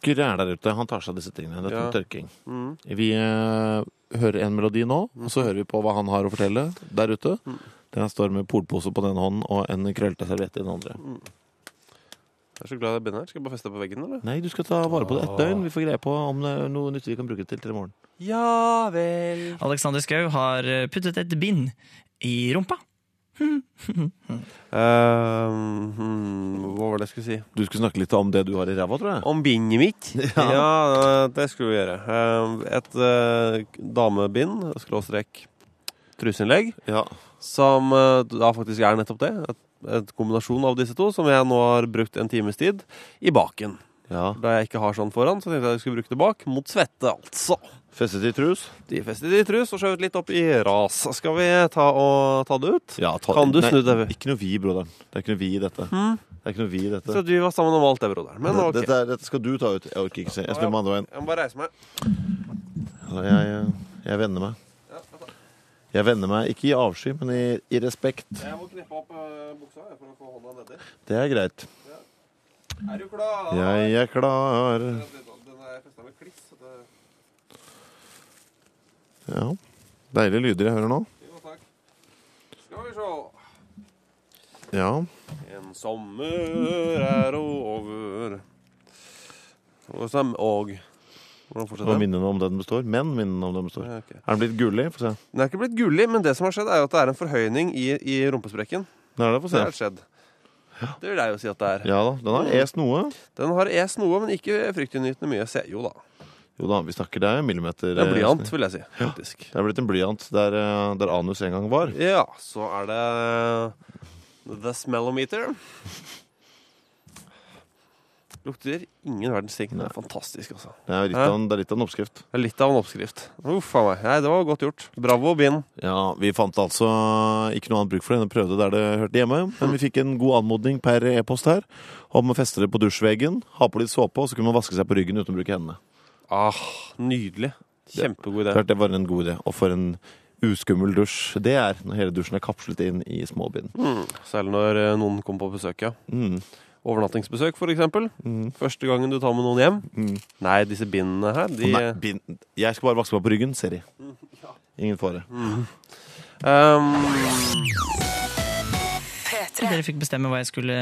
Speaker 5: Kyrre er der ute, han tar seg av disse tingene. Dette
Speaker 4: Ja.
Speaker 5: med tørking.
Speaker 4: Mm.
Speaker 5: Vi eh, hører en melodi nå, og så hører vi på hva han har å fortelle der ute.
Speaker 4: Mm.
Speaker 5: Der han står med polpose på den ene hånden og en krøllete serviett i den andre.
Speaker 4: Jeg er så glad i det bindet her. Skal jeg bare feste det på veggen, eller?
Speaker 5: Nei, du skal ta vare på det et døgn. Vi får greie på om det er noe nyttig vi kan bruke det til til i morgen.
Speaker 4: Ja vel.
Speaker 3: Alexander Schou har eh, puttet et bind i rumpa.
Speaker 4: Ehm, hmm, hva var det jeg skulle si?
Speaker 5: Du skulle snakke litt om det du har i ræva, tror jeg.
Speaker 4: Om bindet mitt? Ja, eh, det skulle vi gjøre. Ehm, Et eh, damebind, skråstrek truseinnlegg, som eh, da faktisk er nettopp det. Et, et kombinasjon av disse to, som jeg nå har brukt en times tid i baken. Da jeg ikke har sånn foran, så tenkte jeg at jeg skulle bruke det bak, mot svette, altså.
Speaker 5: Festet i trus?
Speaker 4: De festet i trus og skjøvet litt opp i ras. Skal vi ta, og, ta det ut?
Speaker 5: Ja, ta-
Speaker 4: kan du
Speaker 5: Nei,
Speaker 4: snu det?
Speaker 5: Ikke noe vi, broderen. Det er ikke noe vi i dette.
Speaker 4: Mm.
Speaker 5: Det er ikke noe vi i dette.
Speaker 4: Så du var sammen om alt det, broderen. Men ok.
Speaker 5: dette, er- dette skal du ta ut. Jeg orker ikke se. Jeg spiller med andre veien.
Speaker 4: Jeg må bare reise meg.
Speaker 5: Ja, Jeg, jeg, jeg vender meg. Jeg vender meg ikke i avsky, men i, i respekt.
Speaker 4: Jeg må knippe opp eh, buksa jeg, for å få hånda nedi.
Speaker 5: Det er greit.
Speaker 4: Er du klar?
Speaker 5: Jeg er klar.
Speaker 4: Den er festet med kliss. så Det...
Speaker 5: Ja. Deilige lyder jeg hører nå.
Speaker 4: Jo, takk. Skal vi se.
Speaker 5: Ja.
Speaker 4: En sommer er over. Og sam- og Hvordan
Speaker 5: Og
Speaker 4: fortsetter den?
Speaker 5: minnene om den består. Men minnene om den består.
Speaker 4: Ja, ok.
Speaker 5: Er den blitt gullig? Få se.
Speaker 4: Den er ikke blitt gullig, men det som har skjedd, er jo at det er en forhøyning i, i rumpesprekken.
Speaker 5: Det er det, få se.
Speaker 4: har skjedd. Det vil jeg jo si at det er.
Speaker 5: Ja da. Den har est noe.
Speaker 4: Den har est noe, men ikke fryktinngytende mye. Se, jo da.
Speaker 5: Jo da, vi snakker det er millimeter.
Speaker 4: Det er blyant,
Speaker 5: eh,
Speaker 4: vil jeg si.
Speaker 5: Ja.
Speaker 4: Faktisk.
Speaker 5: Det er blitt en blyant der, eh, der anus en gang var.
Speaker 4: Ja, så er det The Smellometer. Lukter ingen verdens ting. Det er fantastisk, altså.
Speaker 5: Det er litt
Speaker 4: Hæ?
Speaker 5: av en, det er litt av en oppskrift.
Speaker 4: Det er litt av en oppskrift. Uff a meg. Nei, det var godt gjort. Bravo, Bind.
Speaker 5: Ja, Vi fant altså ikke noe annet bruk for det enn å prøve det der det hørte hjemme. Men vi fikk en god anmodning per e-post her om å feste det på dusjveggen, ha på litt såpe, og så kunne man vaske seg på ryggen uten å bruke hendene.
Speaker 4: Ah, nydelig. Kjempegod idé.
Speaker 5: Klart det var en god idé. Og for en uskummel dusj det er, når hele dusjen er kapslet inn i småbind.
Speaker 4: Mm. Særlig når eh, noen kommer på besøk, ja.
Speaker 5: Mm.
Speaker 4: Overnattingsbesøk, for eksempel.
Speaker 5: Mm.
Speaker 4: Første gangen du tar med noen hjem.
Speaker 5: Mm.
Speaker 4: Nei, disse bindene her, de
Speaker 5: Nei, bind. Jeg skal bare vaske meg på ryggen, ser de. Ingen fare.
Speaker 4: ehm,
Speaker 3: Dere fikk bestemme hva jeg skulle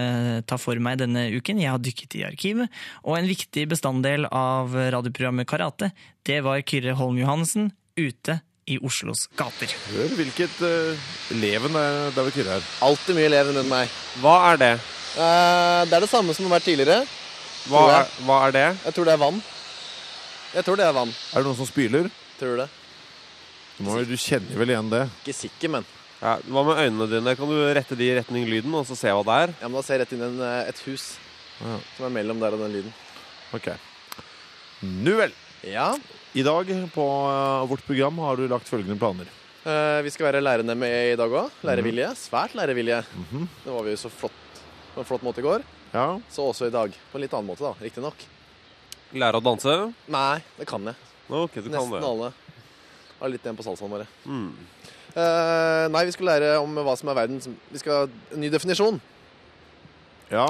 Speaker 3: ta for meg denne uken. Jeg har dykket i arkivet. Og en viktig bestanddel av radioprogrammet Karate, det var Kyrre Holm Johansen ute i Oslos gater.
Speaker 5: Hør hvilket uh, leven det er det er ved Kyrre her.
Speaker 6: Alltid mye leven rundt meg.
Speaker 4: Hva er det?
Speaker 6: Eh, det er det samme som det har vært tidligere.
Speaker 4: Hva
Speaker 6: tror
Speaker 4: er,
Speaker 6: jeg.
Speaker 4: hva er det?
Speaker 6: Jeg tror det er vann. Jeg tror det er vann.
Speaker 5: Er det noen som spyler?
Speaker 6: Tror det.
Speaker 5: Nå, du kjenner vel igjen det?
Speaker 6: Ikke sikker, men.
Speaker 4: Ja, hva med øynene dine? Kan du rette de i retning lyden, og så se hva det er?
Speaker 6: Ja, men Da ser jeg rett inn i en, eh, et hus
Speaker 5: Ja.
Speaker 6: som er mellom der og den lyden.
Speaker 5: Ok. Nu vel.
Speaker 6: Ja.
Speaker 5: I dag på eh, vårt program har du lagt følgende planer.
Speaker 6: Mhm. Eh, vi skal være lærende med i dag òg. Lærevilje. Svært lærevilje.
Speaker 5: Mhm.
Speaker 6: Det var vi jo så flott på en flott måte i går.
Speaker 5: Ja.
Speaker 6: Så også i dag. På en litt annen måte, da. Riktignok.
Speaker 4: Lære å danse?
Speaker 6: Nei, det kan jeg.
Speaker 4: Ok, du
Speaker 6: Nesten
Speaker 4: kan det.
Speaker 6: alle har litt igjen på salsaen våre.
Speaker 4: Mm.
Speaker 6: Eh, nei, vi skal lære om hva som er verdens Vi skal ha en ny definisjon.
Speaker 5: Ja.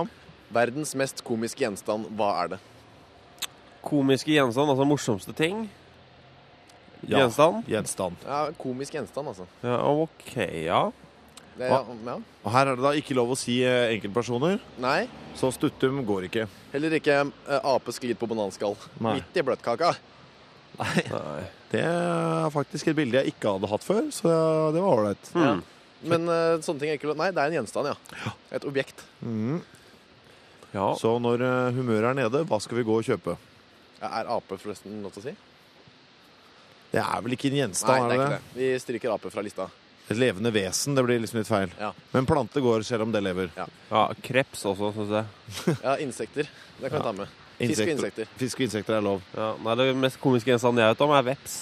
Speaker 6: Verdens mest komiske gjenstand, hva er det?
Speaker 4: Komiske gjenstand, altså morsomste ting.
Speaker 6: Ja,
Speaker 4: Gjenstand?
Speaker 5: Gjenstand.
Speaker 6: Ja, Komisk gjenstand, altså.
Speaker 4: Ja, ok, ja.
Speaker 6: Det, ja, ja.
Speaker 5: Og her er det da ikke lov å si eh, enkeltpersoner.
Speaker 6: Nei.
Speaker 5: Så stuttum går ikke.
Speaker 6: Heller ikke eh, ape sklidd på bananskall.
Speaker 5: Nei.
Speaker 6: Midt i bløtkaka.
Speaker 5: Det er faktisk et bilde jeg ikke hadde hatt før, så det var ålreit.
Speaker 6: Ja. Men eh, sånne ting er ikke lov Nei, det er en gjenstand, ja. Et objekt.
Speaker 5: Mm. Så når eh, humøret er nede, hva skal vi gå og kjøpe?
Speaker 6: Ja, Er ape forresten lov til å si?
Speaker 5: Det er vel ikke en
Speaker 6: Nei,
Speaker 5: gjenstand?
Speaker 6: det er ikke
Speaker 5: er
Speaker 6: det. Vi stryker ape fra lista.
Speaker 5: Et levende vesen, det blir liksom litt feil.
Speaker 6: Ja.
Speaker 5: Men plante går selv om det lever.
Speaker 6: Ja,
Speaker 4: Kreps også, syns jeg.
Speaker 6: Ja, insekter. Det kan vi ta med. Fisk og insekter.
Speaker 5: Fisk og insekter er lov.
Speaker 4: Ja, nei, Det mest komiske gjenstanden jeg vet om, er veps.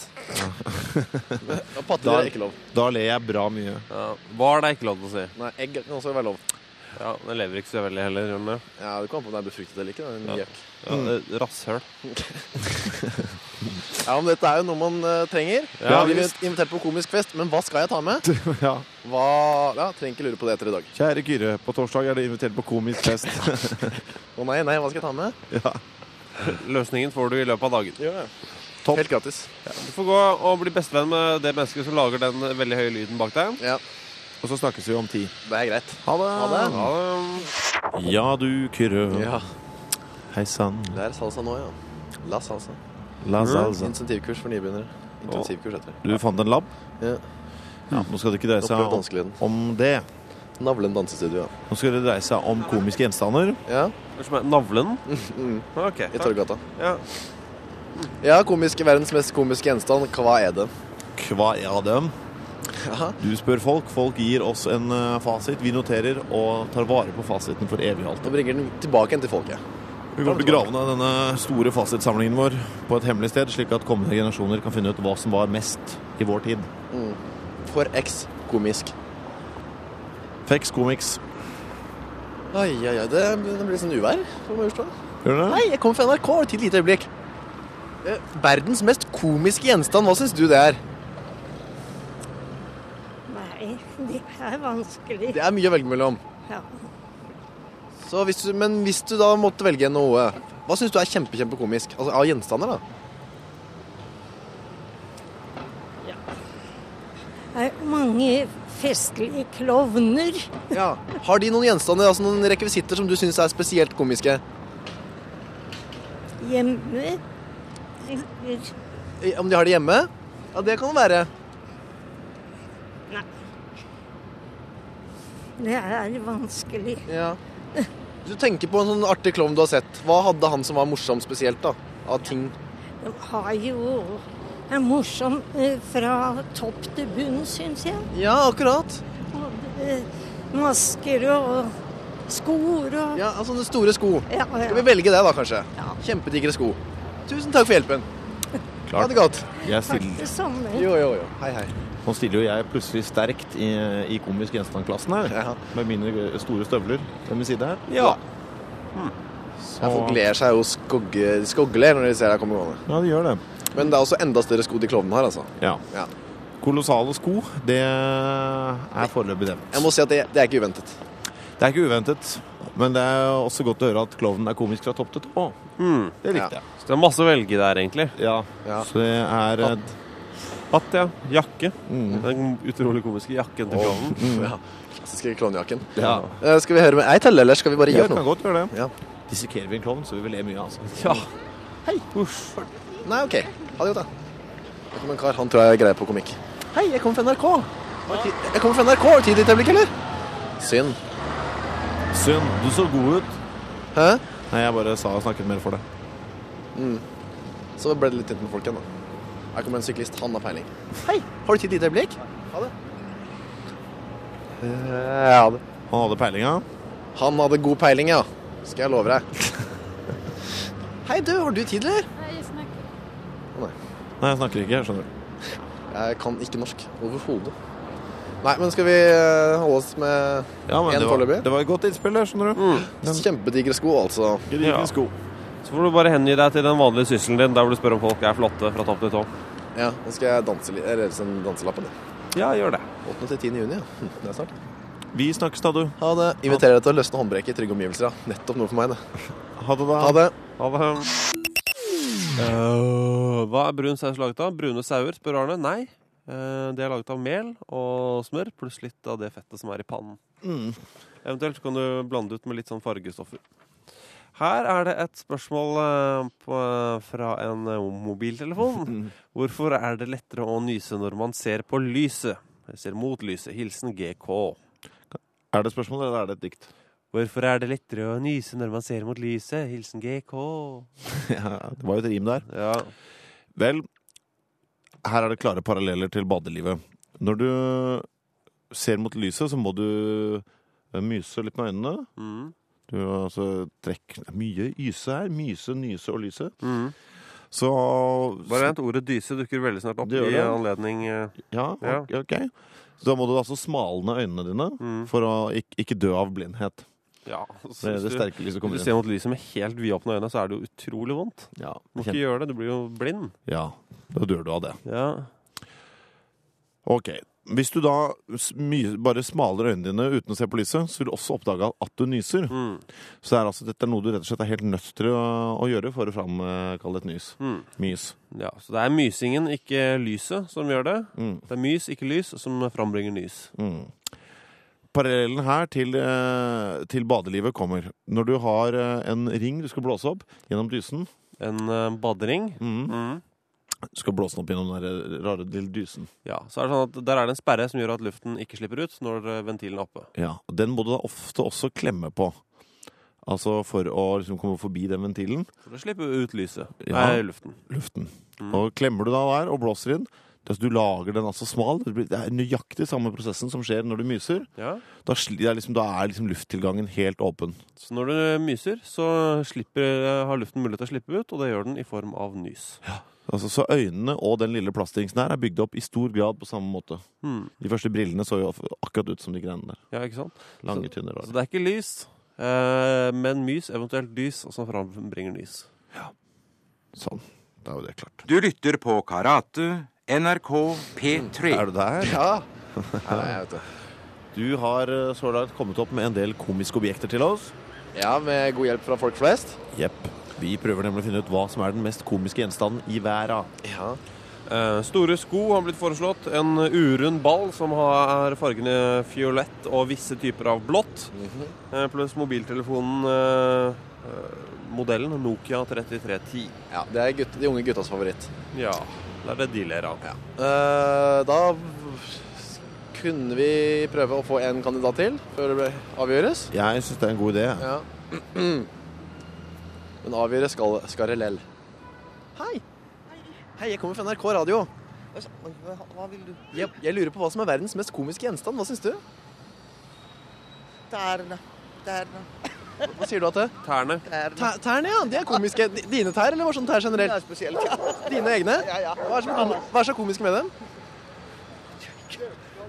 Speaker 6: Og pattedyr er ikke lov.
Speaker 5: Da ler jeg bra mye.
Speaker 4: Ja, Hval er ikke lov til å si.
Speaker 6: Nei, egg kan også være lov.
Speaker 4: Ja, Det lever ikke så veldig heller. Rune.
Speaker 6: Ja, Det kommer på om det er befruktet eller ikke. Det er en
Speaker 4: Ja.
Speaker 6: gjøk.
Speaker 4: Ja, det- Rasshøl.
Speaker 6: Ja, men Dette er jo noe man eh, trenger.
Speaker 4: Ja,
Speaker 6: Ja, vi blir
Speaker 4: visst.
Speaker 6: invitert på komisk fest, men hva skal jeg ta med?
Speaker 5: ja.
Speaker 6: Hva, ja, Trenger ikke lure på det etter i dag.
Speaker 5: Kjære Kyrre, på torsdag er du invitert på komisk fest.
Speaker 6: Å nei, nei, hva skal jeg ta med?
Speaker 5: ja.
Speaker 4: Løsningen får du i løpet av dagen.
Speaker 6: Gjør det. Helt gratis.
Speaker 4: Du får gå og bli bestevenn med det mennesket som lager den veldig høye lyden bak deg.
Speaker 5: Og så snakkes vi om ti.
Speaker 6: Det er greit.
Speaker 5: Ha det.
Speaker 6: Ha det.
Speaker 5: Ja, du, Kyrre.
Speaker 6: Ja.
Speaker 5: Hei sann.
Speaker 6: Det er salsa nå, ja. La salsa.
Speaker 5: La salsa.
Speaker 6: Insentivkurs for nybegynnere. Intensivkurs heter det.
Speaker 5: Du fant en labb?
Speaker 6: Ja.
Speaker 5: Ja, nå skal det ikke dreie seg
Speaker 6: Opplevd
Speaker 5: om,
Speaker 6: vanskeligheten.
Speaker 5: om det.
Speaker 6: Navlen dansestudio, ja.
Speaker 5: Nå skal det dreie seg om komiske gjenstander.
Speaker 6: Ja.
Speaker 4: Navlen?
Speaker 6: I Torggata.
Speaker 4: Ja.
Speaker 6: ja, komisk, verdens mest komiske gjenstand. Hva er det?
Speaker 5: Hva er dem?
Speaker 6: Ja.
Speaker 5: Du spør folk, folk gir oss en eh, fasit. Vi noterer og tar vare på fasiten for evig og alltid.
Speaker 6: Og bringer den tilbake igjen til folket.
Speaker 5: Vi kommer til å grave ned denne store fasitsamlingen vår på et hemmelig sted, slik at kommende generasjoner kan finne ut hva som var mest i vår tid.
Speaker 6: Mm. For X komisk.
Speaker 5: Fex comics.
Speaker 6: Oi, oi, oi. Det, det blir sånn uvær på Majorstua.
Speaker 5: Gjør det?
Speaker 6: Hei, jeg kommer fra NRK. Et lite øyeblikk. Eh, Verdens mest komiske gjenstand. Hva syns du det er?
Speaker 13: Nei, det er vanskelig.
Speaker 6: Det er mye å velge mellom.
Speaker 13: Ja.
Speaker 6: Så hvis du, men hvis du da måtte velge noe, hva syns du er kjempe, kjempekomisk? Altså av gjenstander, da?
Speaker 13: Det er mange festlige klovner.
Speaker 6: Ja. Har de noen gjenstander, altså noen rekvisitter som du syns er spesielt komiske?
Speaker 13: Hjemme eller
Speaker 6: Eh, Om de har det hjemme? Ja, det kan det være.
Speaker 13: Nei. Det er vanskelig.
Speaker 6: Ja. Hvis du tenker på en sånn artig klovn du har sett, hva hadde han som var morsom spesielt, da? Av ting?
Speaker 13: De har jo er morsom eh, fra topp til bunn, syns jeg.
Speaker 6: Ja, akkurat.
Speaker 13: Både masker og skor og
Speaker 6: Ja, altså sånne store sko.
Speaker 13: Ja, ja.
Speaker 6: Skal vi velge det, da, kanskje? Kjempedigre sko. Tusen takk for hjelpen. Ha det godt.
Speaker 5: Jeg stiller,
Speaker 13: det samme.
Speaker 6: Jo, jo, jo. Hei, hei.
Speaker 5: nå stiller jo jeg plutselig sterkt i, i komisk gjenstand-klassen her, med mine eh, store støvler ved min side her.
Speaker 6: Ja. Hmm. Ja, folk ler seg jo skogge, skoggler når de ser deg komme gående.
Speaker 5: Ja, de gjør det.
Speaker 6: Men det er også enda større sko de klovnene har, altså.
Speaker 5: Ja.
Speaker 6: Ja.
Speaker 5: Kolossale sko, det er foreløpig nevnt.
Speaker 6: Jeg må si at det, det er ikke uventet.
Speaker 5: Det er ikke uventet, men det er også godt å høre at klovnen er komisk fra topp til tå.
Speaker 4: Mm.
Speaker 5: Det likte jeg.
Speaker 4: Så det er masse å velge der, egentlig.
Speaker 5: Ja. Så det er eh,
Speaker 4: Hatt, ja. Jakke. Den utrolig komiske jakken til klovnen.
Speaker 6: Ja. Klassiske klovnejakken.
Speaker 4: Ja.
Speaker 6: Eh, Skal vi høre med ei telle, eller skal vi bare gi
Speaker 5: Ja,
Speaker 6: opp
Speaker 5: vi
Speaker 6: nå?
Speaker 5: kan godt gjøre det.
Speaker 6: Ja.
Speaker 5: Dissekerer vi en klovn, så vi vil le mye, altså.
Speaker 6: Hei. Nei, OK. Ha det godt, da. Det kom en kar. Han tror jeg greier på komikk. Hei, jeg kommer fra NRK. Har ti- Jeg kommer fra NRK. Har du tid til et øyeblikk, eller? Synd.
Speaker 5: Synd. Du så god ut.
Speaker 6: Hæ?
Speaker 5: Nei, jeg bare sa og snakket mer for deg.
Speaker 6: Mm. Så ble det litt tynt med folk igjen, da. Her kommer en syklist. Han har peiling. Hei, har du tid til et lite øyeblikk? Ha det. Ja, det.
Speaker 5: Han hadde peilinga?
Speaker 6: Han hadde god peiling, ja. Skal jeg love deg. Hei, du. Har du tid, eller?
Speaker 5: Nei, jeg snakker ikke, skjønner du.
Speaker 6: Jeg kan ikke norsk overhodet. Nei, men skal vi eh, holde oss med
Speaker 5: Ja, men
Speaker 6: én
Speaker 5: det var-
Speaker 6: foreløpig? Mm.
Speaker 5: Det var et godt innspill der, skjønner du.
Speaker 6: Kjempedigre sko, altså.
Speaker 4: Ja. Så får du bare hengi deg til den vanlige sysselen din, der hvor du spør om folk er flotte fra topp til tå.
Speaker 6: Ja, nå skal jeg danse litt. Eller reise en danselappen, jeg.
Speaker 4: Ja, gjør det.
Speaker 6: 8. til 10. juni, ja. Hm, Det er snart.
Speaker 5: Vi snakkes da, du.
Speaker 6: Ha det. Inviterer deg til å løsne håndbrekket i trygge omgivelser, ja. Nettopp noe for meg, det.
Speaker 5: Ha det, da.
Speaker 6: Ha det.
Speaker 4: Øh, hva er brun saus laget av? Brune sauer, spør Arne. Nei. Eh, det er laget av mel og smør, pluss litt av det fettet som er i pannen.
Speaker 5: Mm.
Speaker 4: Eventuelt kan du blande ut med litt sånn fargestoffer. Her er det et spørsmål eh, på, fra en eh, mobiltelefon. Hvorfor er det lettere å nyse når man ser på lyset? Jeg ser mot lyset. Hilsen GK.
Speaker 5: Er det spørsmål, eller er det et dikt?
Speaker 4: Hvorfor er det lettere å nyse når man ser mot lyset? Hilsen GK.
Speaker 5: Ja, det var jo et rim der. Vel, her er det klare paralleller til badelivet. Når du ser mot lyset, så må du eh, myse litt med øynene.
Speaker 4: Mm.
Speaker 5: Du altså trekk Mye yse her. Myse, nyse og lyse.
Speaker 4: Mm.
Speaker 5: Så
Speaker 4: Bare vent, ordet dyse dukker veldig snart opp
Speaker 5: Det gjør
Speaker 4: i
Speaker 5: det.
Speaker 4: anledning eh,
Speaker 5: Ja,
Speaker 4: Ja.
Speaker 5: ok. ok. Så da må du altså smalne øynene dine
Speaker 4: mm.
Speaker 5: for å ikke, ikke dø av blindhet.
Speaker 4: Ja,
Speaker 5: Det er det sterke lyset kommer
Speaker 4: inn. Hvis du
Speaker 5: inn.
Speaker 4: ser mot lyset med helt vidåpne øyne, så er det jo utrolig vondt.
Speaker 5: Ja,
Speaker 4: du må ikke gjøre det, du blir jo blind.
Speaker 5: Ja, da dør du av det.
Speaker 4: Ja.
Speaker 5: Ok. Hvis du da s- my- bare smaler øynene dine uten å se på lyset, så vil du også oppdage at du nyser.
Speaker 4: Mm,
Speaker 5: Så det er altså, dette er noe du rett og slett er helt nødt til å, å gjøre for å framkalle et nys.
Speaker 4: Mm.
Speaker 5: Mys.
Speaker 4: ja, Så det er mysingen, ikke lyset, som gjør det. Det er mys, ikke lys, som frambringer nys.
Speaker 5: Mm. Parallellen her til, eh, til badelivet kommer. Når du har eh, en ring du skal blåse opp gjennom dysen
Speaker 4: En eh, badering.
Speaker 5: Mm. Du skal blåse den opp gjennom den der eh, rare lille dysen.
Speaker 4: Ja, så er det sånn at Der er det en sperre som gjør at luften ikke slipper ut når eh, ventilen er oppe.
Speaker 5: Ja, og Den må du da ofte også klemme på. Altså for å liksom komme forbi den ventilen.
Speaker 4: For å slippe ut lyset.
Speaker 5: Ja.
Speaker 4: Nei, luften.
Speaker 5: luften.
Speaker 4: Mm.
Speaker 5: Og klemmer du da der og blåser inn det er så Du lager den altså smal. Det blir- det er nøyaktig samme prosessen som skjer når du myser.
Speaker 4: Ja.
Speaker 5: Da, sli- det er liksom, da er liksom lufttilgangen helt åpen.
Speaker 4: Så når du myser, så slipper, eh, har luften mulighet til å slippe ut, og det gjør den i form av nys.
Speaker 5: Altså, så øynene og den lille plasthingsen her er bygd opp i stor grad på samme måte.
Speaker 4: Mm.
Speaker 5: De første brillene så jo akkurat ut som de greiene der.
Speaker 4: Ja, ikke sant?
Speaker 5: Lange,
Speaker 4: så,
Speaker 5: tynne rare.
Speaker 4: Så det er ikke lys, eh, men mys, eventuelt lys, og som frambringer nys.
Speaker 5: Sånn. Da er jo det klart.
Speaker 2: Du lytter på Karate, NRK P3.
Speaker 5: Er du der?
Speaker 2: Ja.
Speaker 5: Du har eh, så langt kommet opp med en del komiske objekter til oss.
Speaker 6: Ja, med god hjelp fra folk flest.
Speaker 5: Jepp. Vi prøver nemlig å finne ut hva som er den mest komiske gjenstanden i verden.
Speaker 6: Ja.
Speaker 4: Eh, store sko har blitt foreslått. En urund ball som har fargene fiolett og visse typer av blått.
Speaker 6: Mhm.
Speaker 4: eh, pluss mobiltelefonen eh, eh, modellen Nokia 3310.
Speaker 6: Ja, Det er gutt, de unge guttas favoritt.
Speaker 4: Ja, det er det de ler av.
Speaker 6: Eh, da v- kunne vi prøve å få en kandidat til før det ble- avgjøres.
Speaker 5: Jeg syns det er en god idé.
Speaker 6: Ja. Men avgjøres skal, skal det lell. Hei. Hei, jeg kommer fra NRK Radio.
Speaker 14: Hva vil du?
Speaker 6: Jeg, jeg lurer på hva som er verdens mest komiske gjenstand. Hva syns du?
Speaker 14: Tærne. Tærne.
Speaker 6: Hva sier du at det?
Speaker 4: Tærne.
Speaker 6: Tæ- Tærne, ja. De er komiske. D- Dine tær, eller var sånn tær generelt?
Speaker 14: Ja, spesielt, ja.
Speaker 6: Dine egne?
Speaker 14: Ja, ja.
Speaker 6: Hva er, så, kom- hva er så komisk med dem?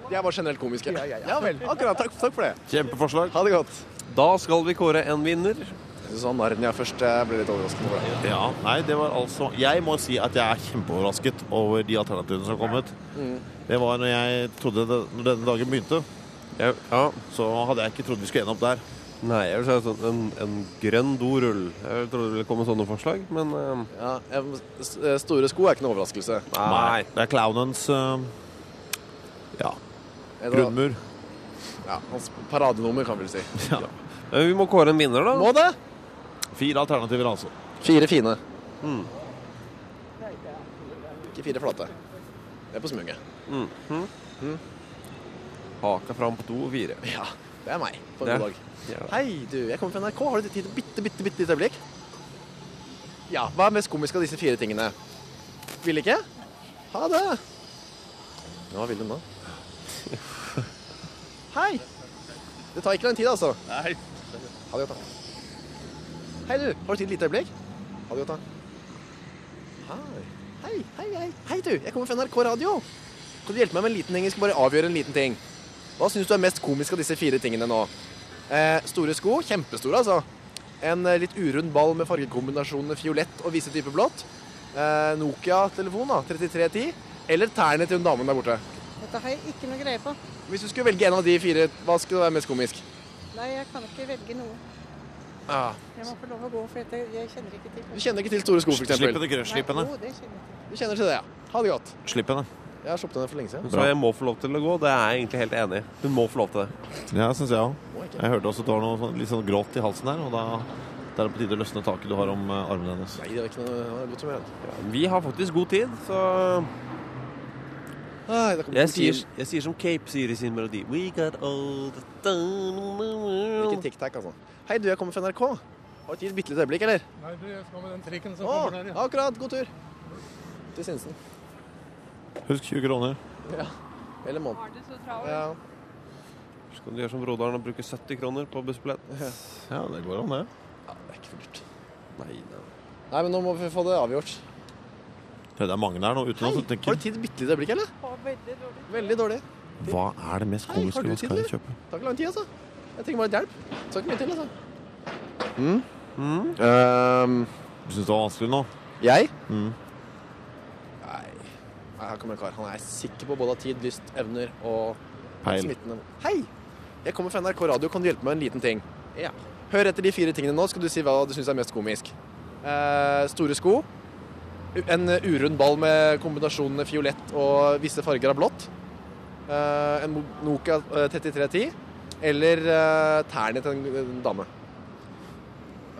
Speaker 6: De er bare generelt komiske. Ja, vel. Akkurat. Takk, takk for det.
Speaker 5: Kjempeforslag.
Speaker 6: Ha det godt.
Speaker 4: Da skal vi kåre en vinner.
Speaker 6: Jeg syns han Narnia først eh, ble litt overraskende over det.
Speaker 5: Ja, nei, det var altså Jeg må si at jeg er kjempeoverrasket over de alternativene som har kommet.
Speaker 6: Mm.
Speaker 5: Det var når jeg trodde det, Når denne dagen begynte, så hadde jeg ikke trodd vi skulle ende opp der.
Speaker 4: Nei, jeg vil si sånn en, en grønn dorull. Jeg trodde det ville komme sånne forslag, men eh,
Speaker 6: Ja, jeg, må- s- eh, store sko er ikke noe overraskelse.
Speaker 5: Det er clownens eh, Ja.
Speaker 6: Er det-
Speaker 5: Grunnmur.
Speaker 6: Ja, hans paradenummer, kan vi vel si.
Speaker 5: Ja.
Speaker 4: Vi må kåre en vinner, da.
Speaker 6: Må det?
Speaker 5: Fire alternativer, altså.
Speaker 6: Fire fine. Hmm.
Speaker 4: Mm.
Speaker 6: Ikke fire flate. Det er på smuget.
Speaker 4: Mm. Haka fram på to og fire.
Speaker 6: Ja, det er meg på
Speaker 4: Det
Speaker 6: en
Speaker 4: er-
Speaker 6: god dag.
Speaker 4: ja.
Speaker 6: Hei, du, jeg kommer fra NRK. Har du tid til et bitte, bitte, bitte lite øyeblikk? Ja, hva er mest komisk av disse fire tingene? Vil ikke? Ha det. Ja, hva vil hun da? Hei. Det tar ikke lang tid, altså. Nei. Ha det godt, da. Hei, du. Har du tid til et lite øyeblikk? Ha det godt, da. Hei. Hei, hei, hei. Hei, du. Jeg kommer fra NRK Radio. Kan du hjelpe meg med en liten ting? Jeg skal bare avgjøre en liten ting. Hva syns du er mest komisk av disse fire tingene nå? Eh, store sko, kjempestore altså. En eh, litt urund ball med fargekombinasjonene fiolett og visse typer blått. Eh, Nokia-telefon, da, 3310. Eller tærne til hun damen der borte.
Speaker 15: Dette har jeg ikke noe greie på.
Speaker 6: Hvis du skulle velge en av de fire, hva skulle være mest komisk?
Speaker 15: Nei, jeg kan ikke velge noe.
Speaker 6: Ah.
Speaker 15: Jeg må få lov å gå, for dette, jeg kjenner ikke til
Speaker 6: Du kjenner ikke til store sko, for eksempel?
Speaker 5: Slipp henne, Grø, slipp
Speaker 15: Nei,
Speaker 5: henne.
Speaker 15: jo, det kjenner jeg til.
Speaker 6: Du kjenner til det, ja. Ha det godt.
Speaker 5: Slipp henne.
Speaker 6: Jeg har sluppet henne for lenge siden.
Speaker 4: Så jeg må få lov til å gå. Det er jeg egentlig helt enig i. Hun må få lov til det.
Speaker 5: Ja, syns jeg òg. Jeg hørte også at det var noe sånn, litt sånn gråt i halsen her, og da da er det på tide å løsne taket du har om eh, armen hennes.
Speaker 6: Nei, det var ikke noe godt som jeg hadde.
Speaker 4: Vi har faktisk god tid, så
Speaker 6: Nei, da kommer
Speaker 4: jeg
Speaker 6: politiet.
Speaker 4: sier, jeg sier som Cape sier i sin melodi We got all the time in the world.
Speaker 6: Ikke tic-tac, altså. Hei, du, jeg kommer fra NRK. Har du tid et bitte lite øyeblikk, eller?
Speaker 16: Nei, du, jeg skal med den trikken som
Speaker 6: Å,
Speaker 16: kommer der, ja.
Speaker 6: akkurat. God tur. Til Sinsen.
Speaker 5: Husk 20 kroner.
Speaker 6: Ja. Eller måneden. Ja.
Speaker 4: Så kan du gjøre som broderen og bruke 70 kroner på bussbillett.
Speaker 5: Ja, det går an, det.
Speaker 6: Det er ikke for dyrt.
Speaker 4: Nei, nei.
Speaker 6: Nei, men nå må vi få det avgjort.
Speaker 5: Det er mange der nå ute nå som
Speaker 6: Har
Speaker 5: tenker
Speaker 6: du tid et bitte lite øyeblikk, eller?
Speaker 15: Veldig dårlig.
Speaker 6: Veldig dårlig.
Speaker 5: Hva er det mest
Speaker 6: Hei, har
Speaker 5: komiske
Speaker 6: du
Speaker 5: man
Speaker 6: tid,
Speaker 5: skal
Speaker 6: eller?
Speaker 5: kjøpe?
Speaker 6: Det tar ikke lang tid, altså. Jeg trenger bare litt hjelp. Det tar ikke mye til, altså.
Speaker 5: Mm. du syns det var vanskelig nå?
Speaker 6: Jeg?
Speaker 5: Mm.
Speaker 6: Nei, her kommer en kar. Han er sikker på både tid, lyst, evner og
Speaker 5: Peil.
Speaker 6: smittende. Hei! Jeg kommer fra NRK Radio. Kan du hjelpe meg med en liten ting? Ja. Hør etter de fire tingene nå, skal du si hva du syns er mest komisk. Eh, store sko. u- En urund ball med kombinasjonene fiolett og visse farger av blått. Eh, en Mo- Nokia eh, 3310. Eller eh, tærne til en, en dame.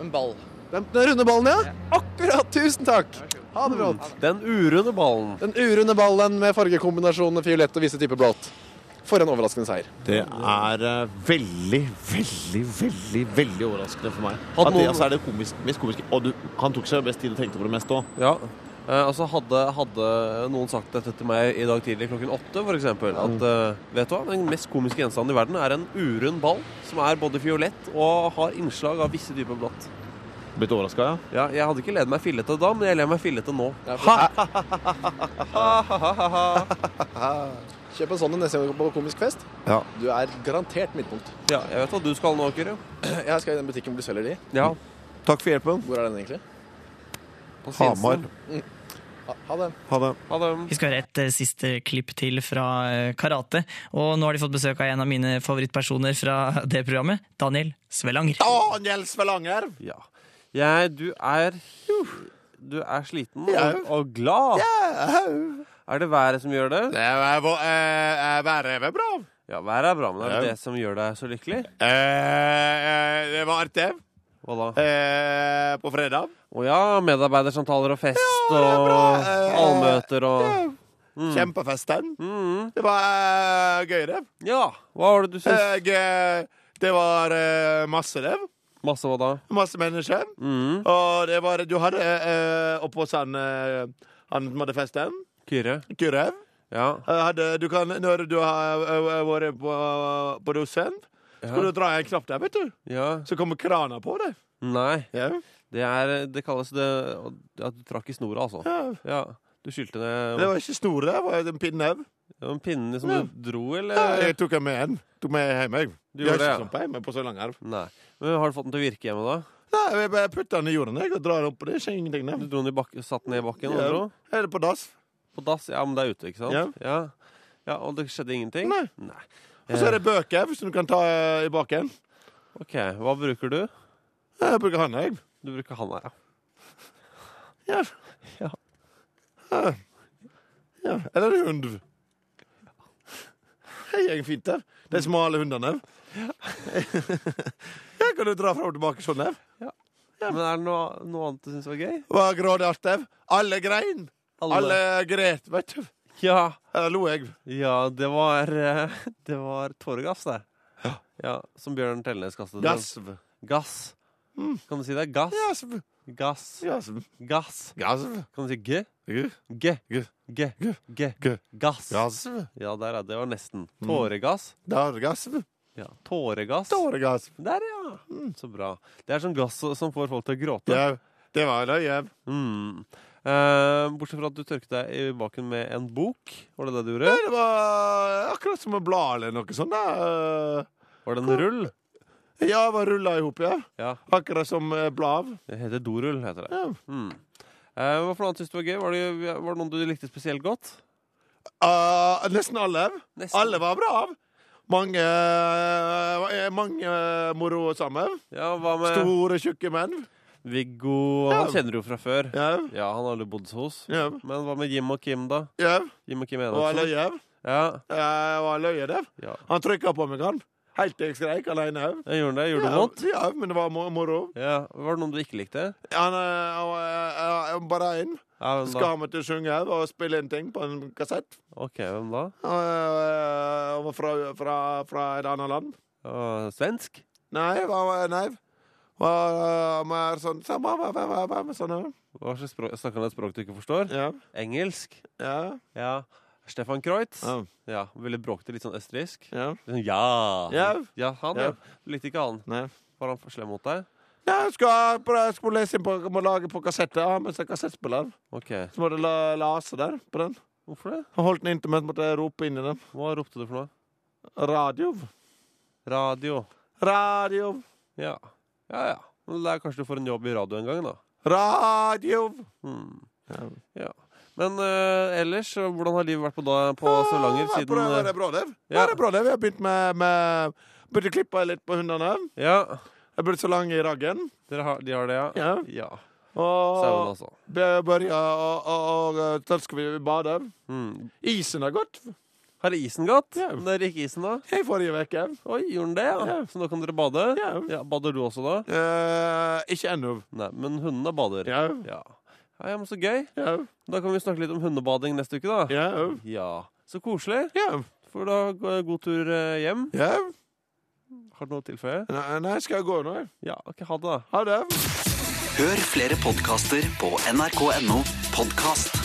Speaker 6: En ball. Den, den runde ballen, ja? Akkurat! Tusen takk! Ha det bra.
Speaker 4: Den urunde ballen.
Speaker 6: Den urunde ballen med fargekombinasjonene fiolett og visse typer blått. For en overraskende seier.
Speaker 5: Det er eh, veldig, veldig, veldig veldig overraskende for meg.
Speaker 4: Hadde
Speaker 5: At det
Speaker 4: noen-
Speaker 5: altså, er det komisk, mest komiske. Og du, han tok seg best tid og tenkte på det mest òg.
Speaker 4: Ja. Eh, altså hadde, hadde noen sagt dette til meg i dag tidlig klokken åtte, f.eks. At eh, vet du hva, den mest komiske gjenstanden i verden er en urund ball som er både fiolett og har innslag av visse dype blått.
Speaker 5: Blitt overraska, ja?
Speaker 4: Ja, jeg hadde ikke ledd meg fillete da, men jeg ler meg fillete nå.
Speaker 6: Kjøp en sånn en neste gang du går på komisk fest.
Speaker 4: Ja.
Speaker 6: Du er garantert midtpunkt.
Speaker 4: Ja, jeg vet hva du skal nå, Kyrre.
Speaker 6: Jeg skal i den butikken hvor du selger de.
Speaker 4: Ja.
Speaker 5: Takk for hjelpen.
Speaker 6: Hvor er den egentlig?
Speaker 5: Hamar.
Speaker 6: Mm. Ha, ha det.
Speaker 5: Ha det.
Speaker 3: Vi skal høre et eh, siste klipp til fra eh, karate. Og nå har de fått besøk av en av mine favorittpersoner fra det programmet, Daniel Svelanger.
Speaker 5: Daniel Svelanger!
Speaker 4: Ja. Jeg, du er Du er sliten og, og glad. Er det været som gjør det? Det er, været er bra. Ja, været er bra, men er
Speaker 17: Ja.
Speaker 4: det det som gjør deg så lykkelig?
Speaker 17: Eh, eh, det var artig.
Speaker 4: Hva da?
Speaker 17: Eh, på fredag.
Speaker 4: Å ja, medarbeidersamtaler og fest og allmøter og Mm.
Speaker 17: Kjempefesten. Det var eh, gøy, det.
Speaker 4: Ja. Hva var det du syns?
Speaker 17: Jeg, eh, det var eh, masse, det.
Speaker 4: Masse hva da? Mm.
Speaker 17: Masse mennesker. Og det var Du hadde eh, oppe hos han eh, han som hadde festen.
Speaker 4: Kyrre.
Speaker 17: Kyrre.
Speaker 4: Ja.
Speaker 17: Eh, Hadde, du kan, når du har eh, vært på, på dosen, skulle du dra i en knapp der, vet du.
Speaker 4: Ja.
Speaker 17: Så kommer krana på deg.
Speaker 4: Nei. Det, er, det kalles det at du trakk i snora, altså. Ja. Du skyldte ned
Speaker 17: Det var ikke snor, det var en pinne.
Speaker 4: Det var en pinne som
Speaker 17: Ja.
Speaker 4: du dro, eller?
Speaker 17: Ja, jeg tok den med en. Tok med hjem, jeg.
Speaker 4: Du
Speaker 17: Jeg
Speaker 4: gjorde det,
Speaker 17: har
Speaker 4: ja.
Speaker 17: ikke sånn på hjemme på Sølangerv.
Speaker 4: Nei. Men har du fått den til å virke hjemme, da?
Speaker 17: Nei, jeg bare putter den i jorden jeg, og drar den opp. og Det skjer ingenting.
Speaker 4: Du dro den i bakken, satt den ned i
Speaker 17: Ja.
Speaker 4: bakken? og dro?
Speaker 17: Er det på dass?
Speaker 4: På dass? Ja, men det er ute, ikke sant?
Speaker 17: Ja.
Speaker 4: Ja, ja Og det skjedde ingenting?
Speaker 17: Nei. Og så er det bøker, hvis du kan ta eh, i baken.
Speaker 4: Eh, OK. Hva bruker du?
Speaker 17: Jeg bruker han, jeg.
Speaker 4: Du bruker han her, ja.
Speaker 17: Ja.
Speaker 4: Ja.
Speaker 17: ja. Eller en hund. Det går fint der. De smale hundene. Ja, kan du dra fram og tilbake sånn her?
Speaker 4: Men er det noe, noe annet du syns var gøy?
Speaker 17: Hva grådig artig. jeg. Alle grein.
Speaker 4: Alle.
Speaker 17: Alle, gret, vet du.
Speaker 4: Ja.
Speaker 17: Eller lo jeg.
Speaker 4: Ja, det var eh, Det var tåregass, det. Ja. Som Bjørn Tellenes kastet.
Speaker 17: Gasv.
Speaker 4: Gass.
Speaker 17: Mm.
Speaker 4: Kan du si det? Gass.
Speaker 17: Gasv.
Speaker 4: Gass.
Speaker 17: Gasv.
Speaker 4: Gass. Kan du si g?
Speaker 17: G.
Speaker 4: G. G. G. Gass. Ja, der, ja. Det var nesten. Tåregass.
Speaker 17: Tåregasv.
Speaker 5: Mm.
Speaker 4: Ja, Tåregass.
Speaker 17: Tåregass.
Speaker 4: Der, ja. Så bra. Det er sånn gass som får folk til å gråte.
Speaker 17: Ja, det var det. Ja.
Speaker 4: Mm. Eh, bortsett fra at du tørket deg i baken med en bok. Var det det du gjorde?
Speaker 5: Nei, det var akkurat som å bla eller noe sånt. da.
Speaker 4: Var det en rull?
Speaker 5: Ja, jeg var rulla i hop, ja. Akkurat som eh, bla av.
Speaker 4: Det heter dorull, heter det. Mm. Eh, hva for noe annet synes du var gøy? Var det, var det noen du likte spesielt godt?
Speaker 5: Ah, nesten alle. Alle var bra av. Mange, eh, mange eh, moro sammen.
Speaker 4: med-
Speaker 5: Store, tjukke menn.
Speaker 4: Viggo Han
Speaker 5: Ja.
Speaker 4: kjenner du fra før.
Speaker 5: Ja.
Speaker 4: Han har du bodd hos.
Speaker 5: Ja.
Speaker 4: Men hva med Jim og Kim, da?
Speaker 5: Ja.
Speaker 4: Jim og Kim
Speaker 5: Og jeg
Speaker 4: Enoksen?
Speaker 5: løy.
Speaker 4: Ja.
Speaker 5: Jeg var løye der.
Speaker 4: Ja.
Speaker 5: Han trykka på meg, han. Helt til jeg skreik alene òg.
Speaker 4: Jeg gjorde det. Gjorde det
Speaker 5: ja,
Speaker 4: vondt?
Speaker 5: Ja, men det var mo- moro.
Speaker 4: Ja. Var det noen du ikke likte?
Speaker 5: Han eh, han var eh, eh, bare én.
Speaker 4: Ja, hvem da?
Speaker 5: Skal meg til å synge og spille en ting på en kassett.
Speaker 4: OK, hvem da?
Speaker 5: Eh, Han var fra, fra, fra et annet land.
Speaker 4: Å, svensk?
Speaker 5: Nei, hva var Nei. Var eh, mer sånn samme, hva, hva, hva, hva, sånn, med sånne.
Speaker 4: Hva slags språk, Snakker han et språk du ikke forstår? Engelsk?
Speaker 5: Ja.
Speaker 4: Stefan Kreutz? Ja. Veldig bråkete, litt sånn østerriksk?
Speaker 5: Ja.
Speaker 4: Litt sånn, ja.
Speaker 5: Ja.
Speaker 4: Ja, han,
Speaker 5: Ja.
Speaker 4: ja. Du likte ikke han? Var han for slem mot deg?
Speaker 5: Nei, jeg skulle, jeg skulle lese inn på, må lage på kassett. Jeg har med seg kassettspiller.
Speaker 4: Ok.
Speaker 5: Så må du la, lase der på den.
Speaker 4: Hvorfor det?
Speaker 5: Jeg holdt den inntil meg, så måtte jeg rope inn i den.
Speaker 4: Hva ropte du for noe?
Speaker 5: Radio.
Speaker 4: Radio.
Speaker 5: Radio.
Speaker 4: Ja. Ja, ja. Men det er kanskje du får en jobb i radio en gang, da.
Speaker 5: Radio.
Speaker 4: Hmm.
Speaker 5: Ja.
Speaker 4: Ja. Men eh, ellers, hvordan har livet vært på, da, Ah, på Stavanger
Speaker 5: Ja,
Speaker 4: siden eh,
Speaker 5: bra, var Ah, det bra, Lev? Ja. det bra, Lev. Jeg har begynt med, med Begynte å klippe litt på hundene.
Speaker 4: Ja.
Speaker 5: Jeg har blitt så lang i raggen.
Speaker 4: Dere har, de har det, ja?
Speaker 5: Ja.
Speaker 4: ja. Sauen,
Speaker 5: Og
Speaker 4: altså.
Speaker 5: be- børja, og, og, og da skal vi bade.
Speaker 4: Mm.
Speaker 5: Isen har gått.
Speaker 4: Har isen gått? Når gikk isen, da?
Speaker 5: I forrige uke.
Speaker 4: Oi, gjorde den det? Ja. Så nå kan dere bade? Ja. bader du også da?
Speaker 5: Eh, ikke ennå.
Speaker 4: Nei, men hundene bader?
Speaker 5: Ja.
Speaker 4: Ja, ja, men så gøy.
Speaker 5: Ja.
Speaker 4: Da kan vi snakke litt om hundebading neste uke, da.
Speaker 5: Ja.
Speaker 4: Så koselig.
Speaker 5: Ja.
Speaker 4: Får da gå- god tur eh, hjem.
Speaker 5: Ja.
Speaker 4: Har du noe å tilføye?
Speaker 5: Nei, nei, skal jeg gå nå? jeg?
Speaker 4: Ja, ok, ha det. da.
Speaker 5: Ha det.
Speaker 1: Hør flere podkaster på nrk.no podkast.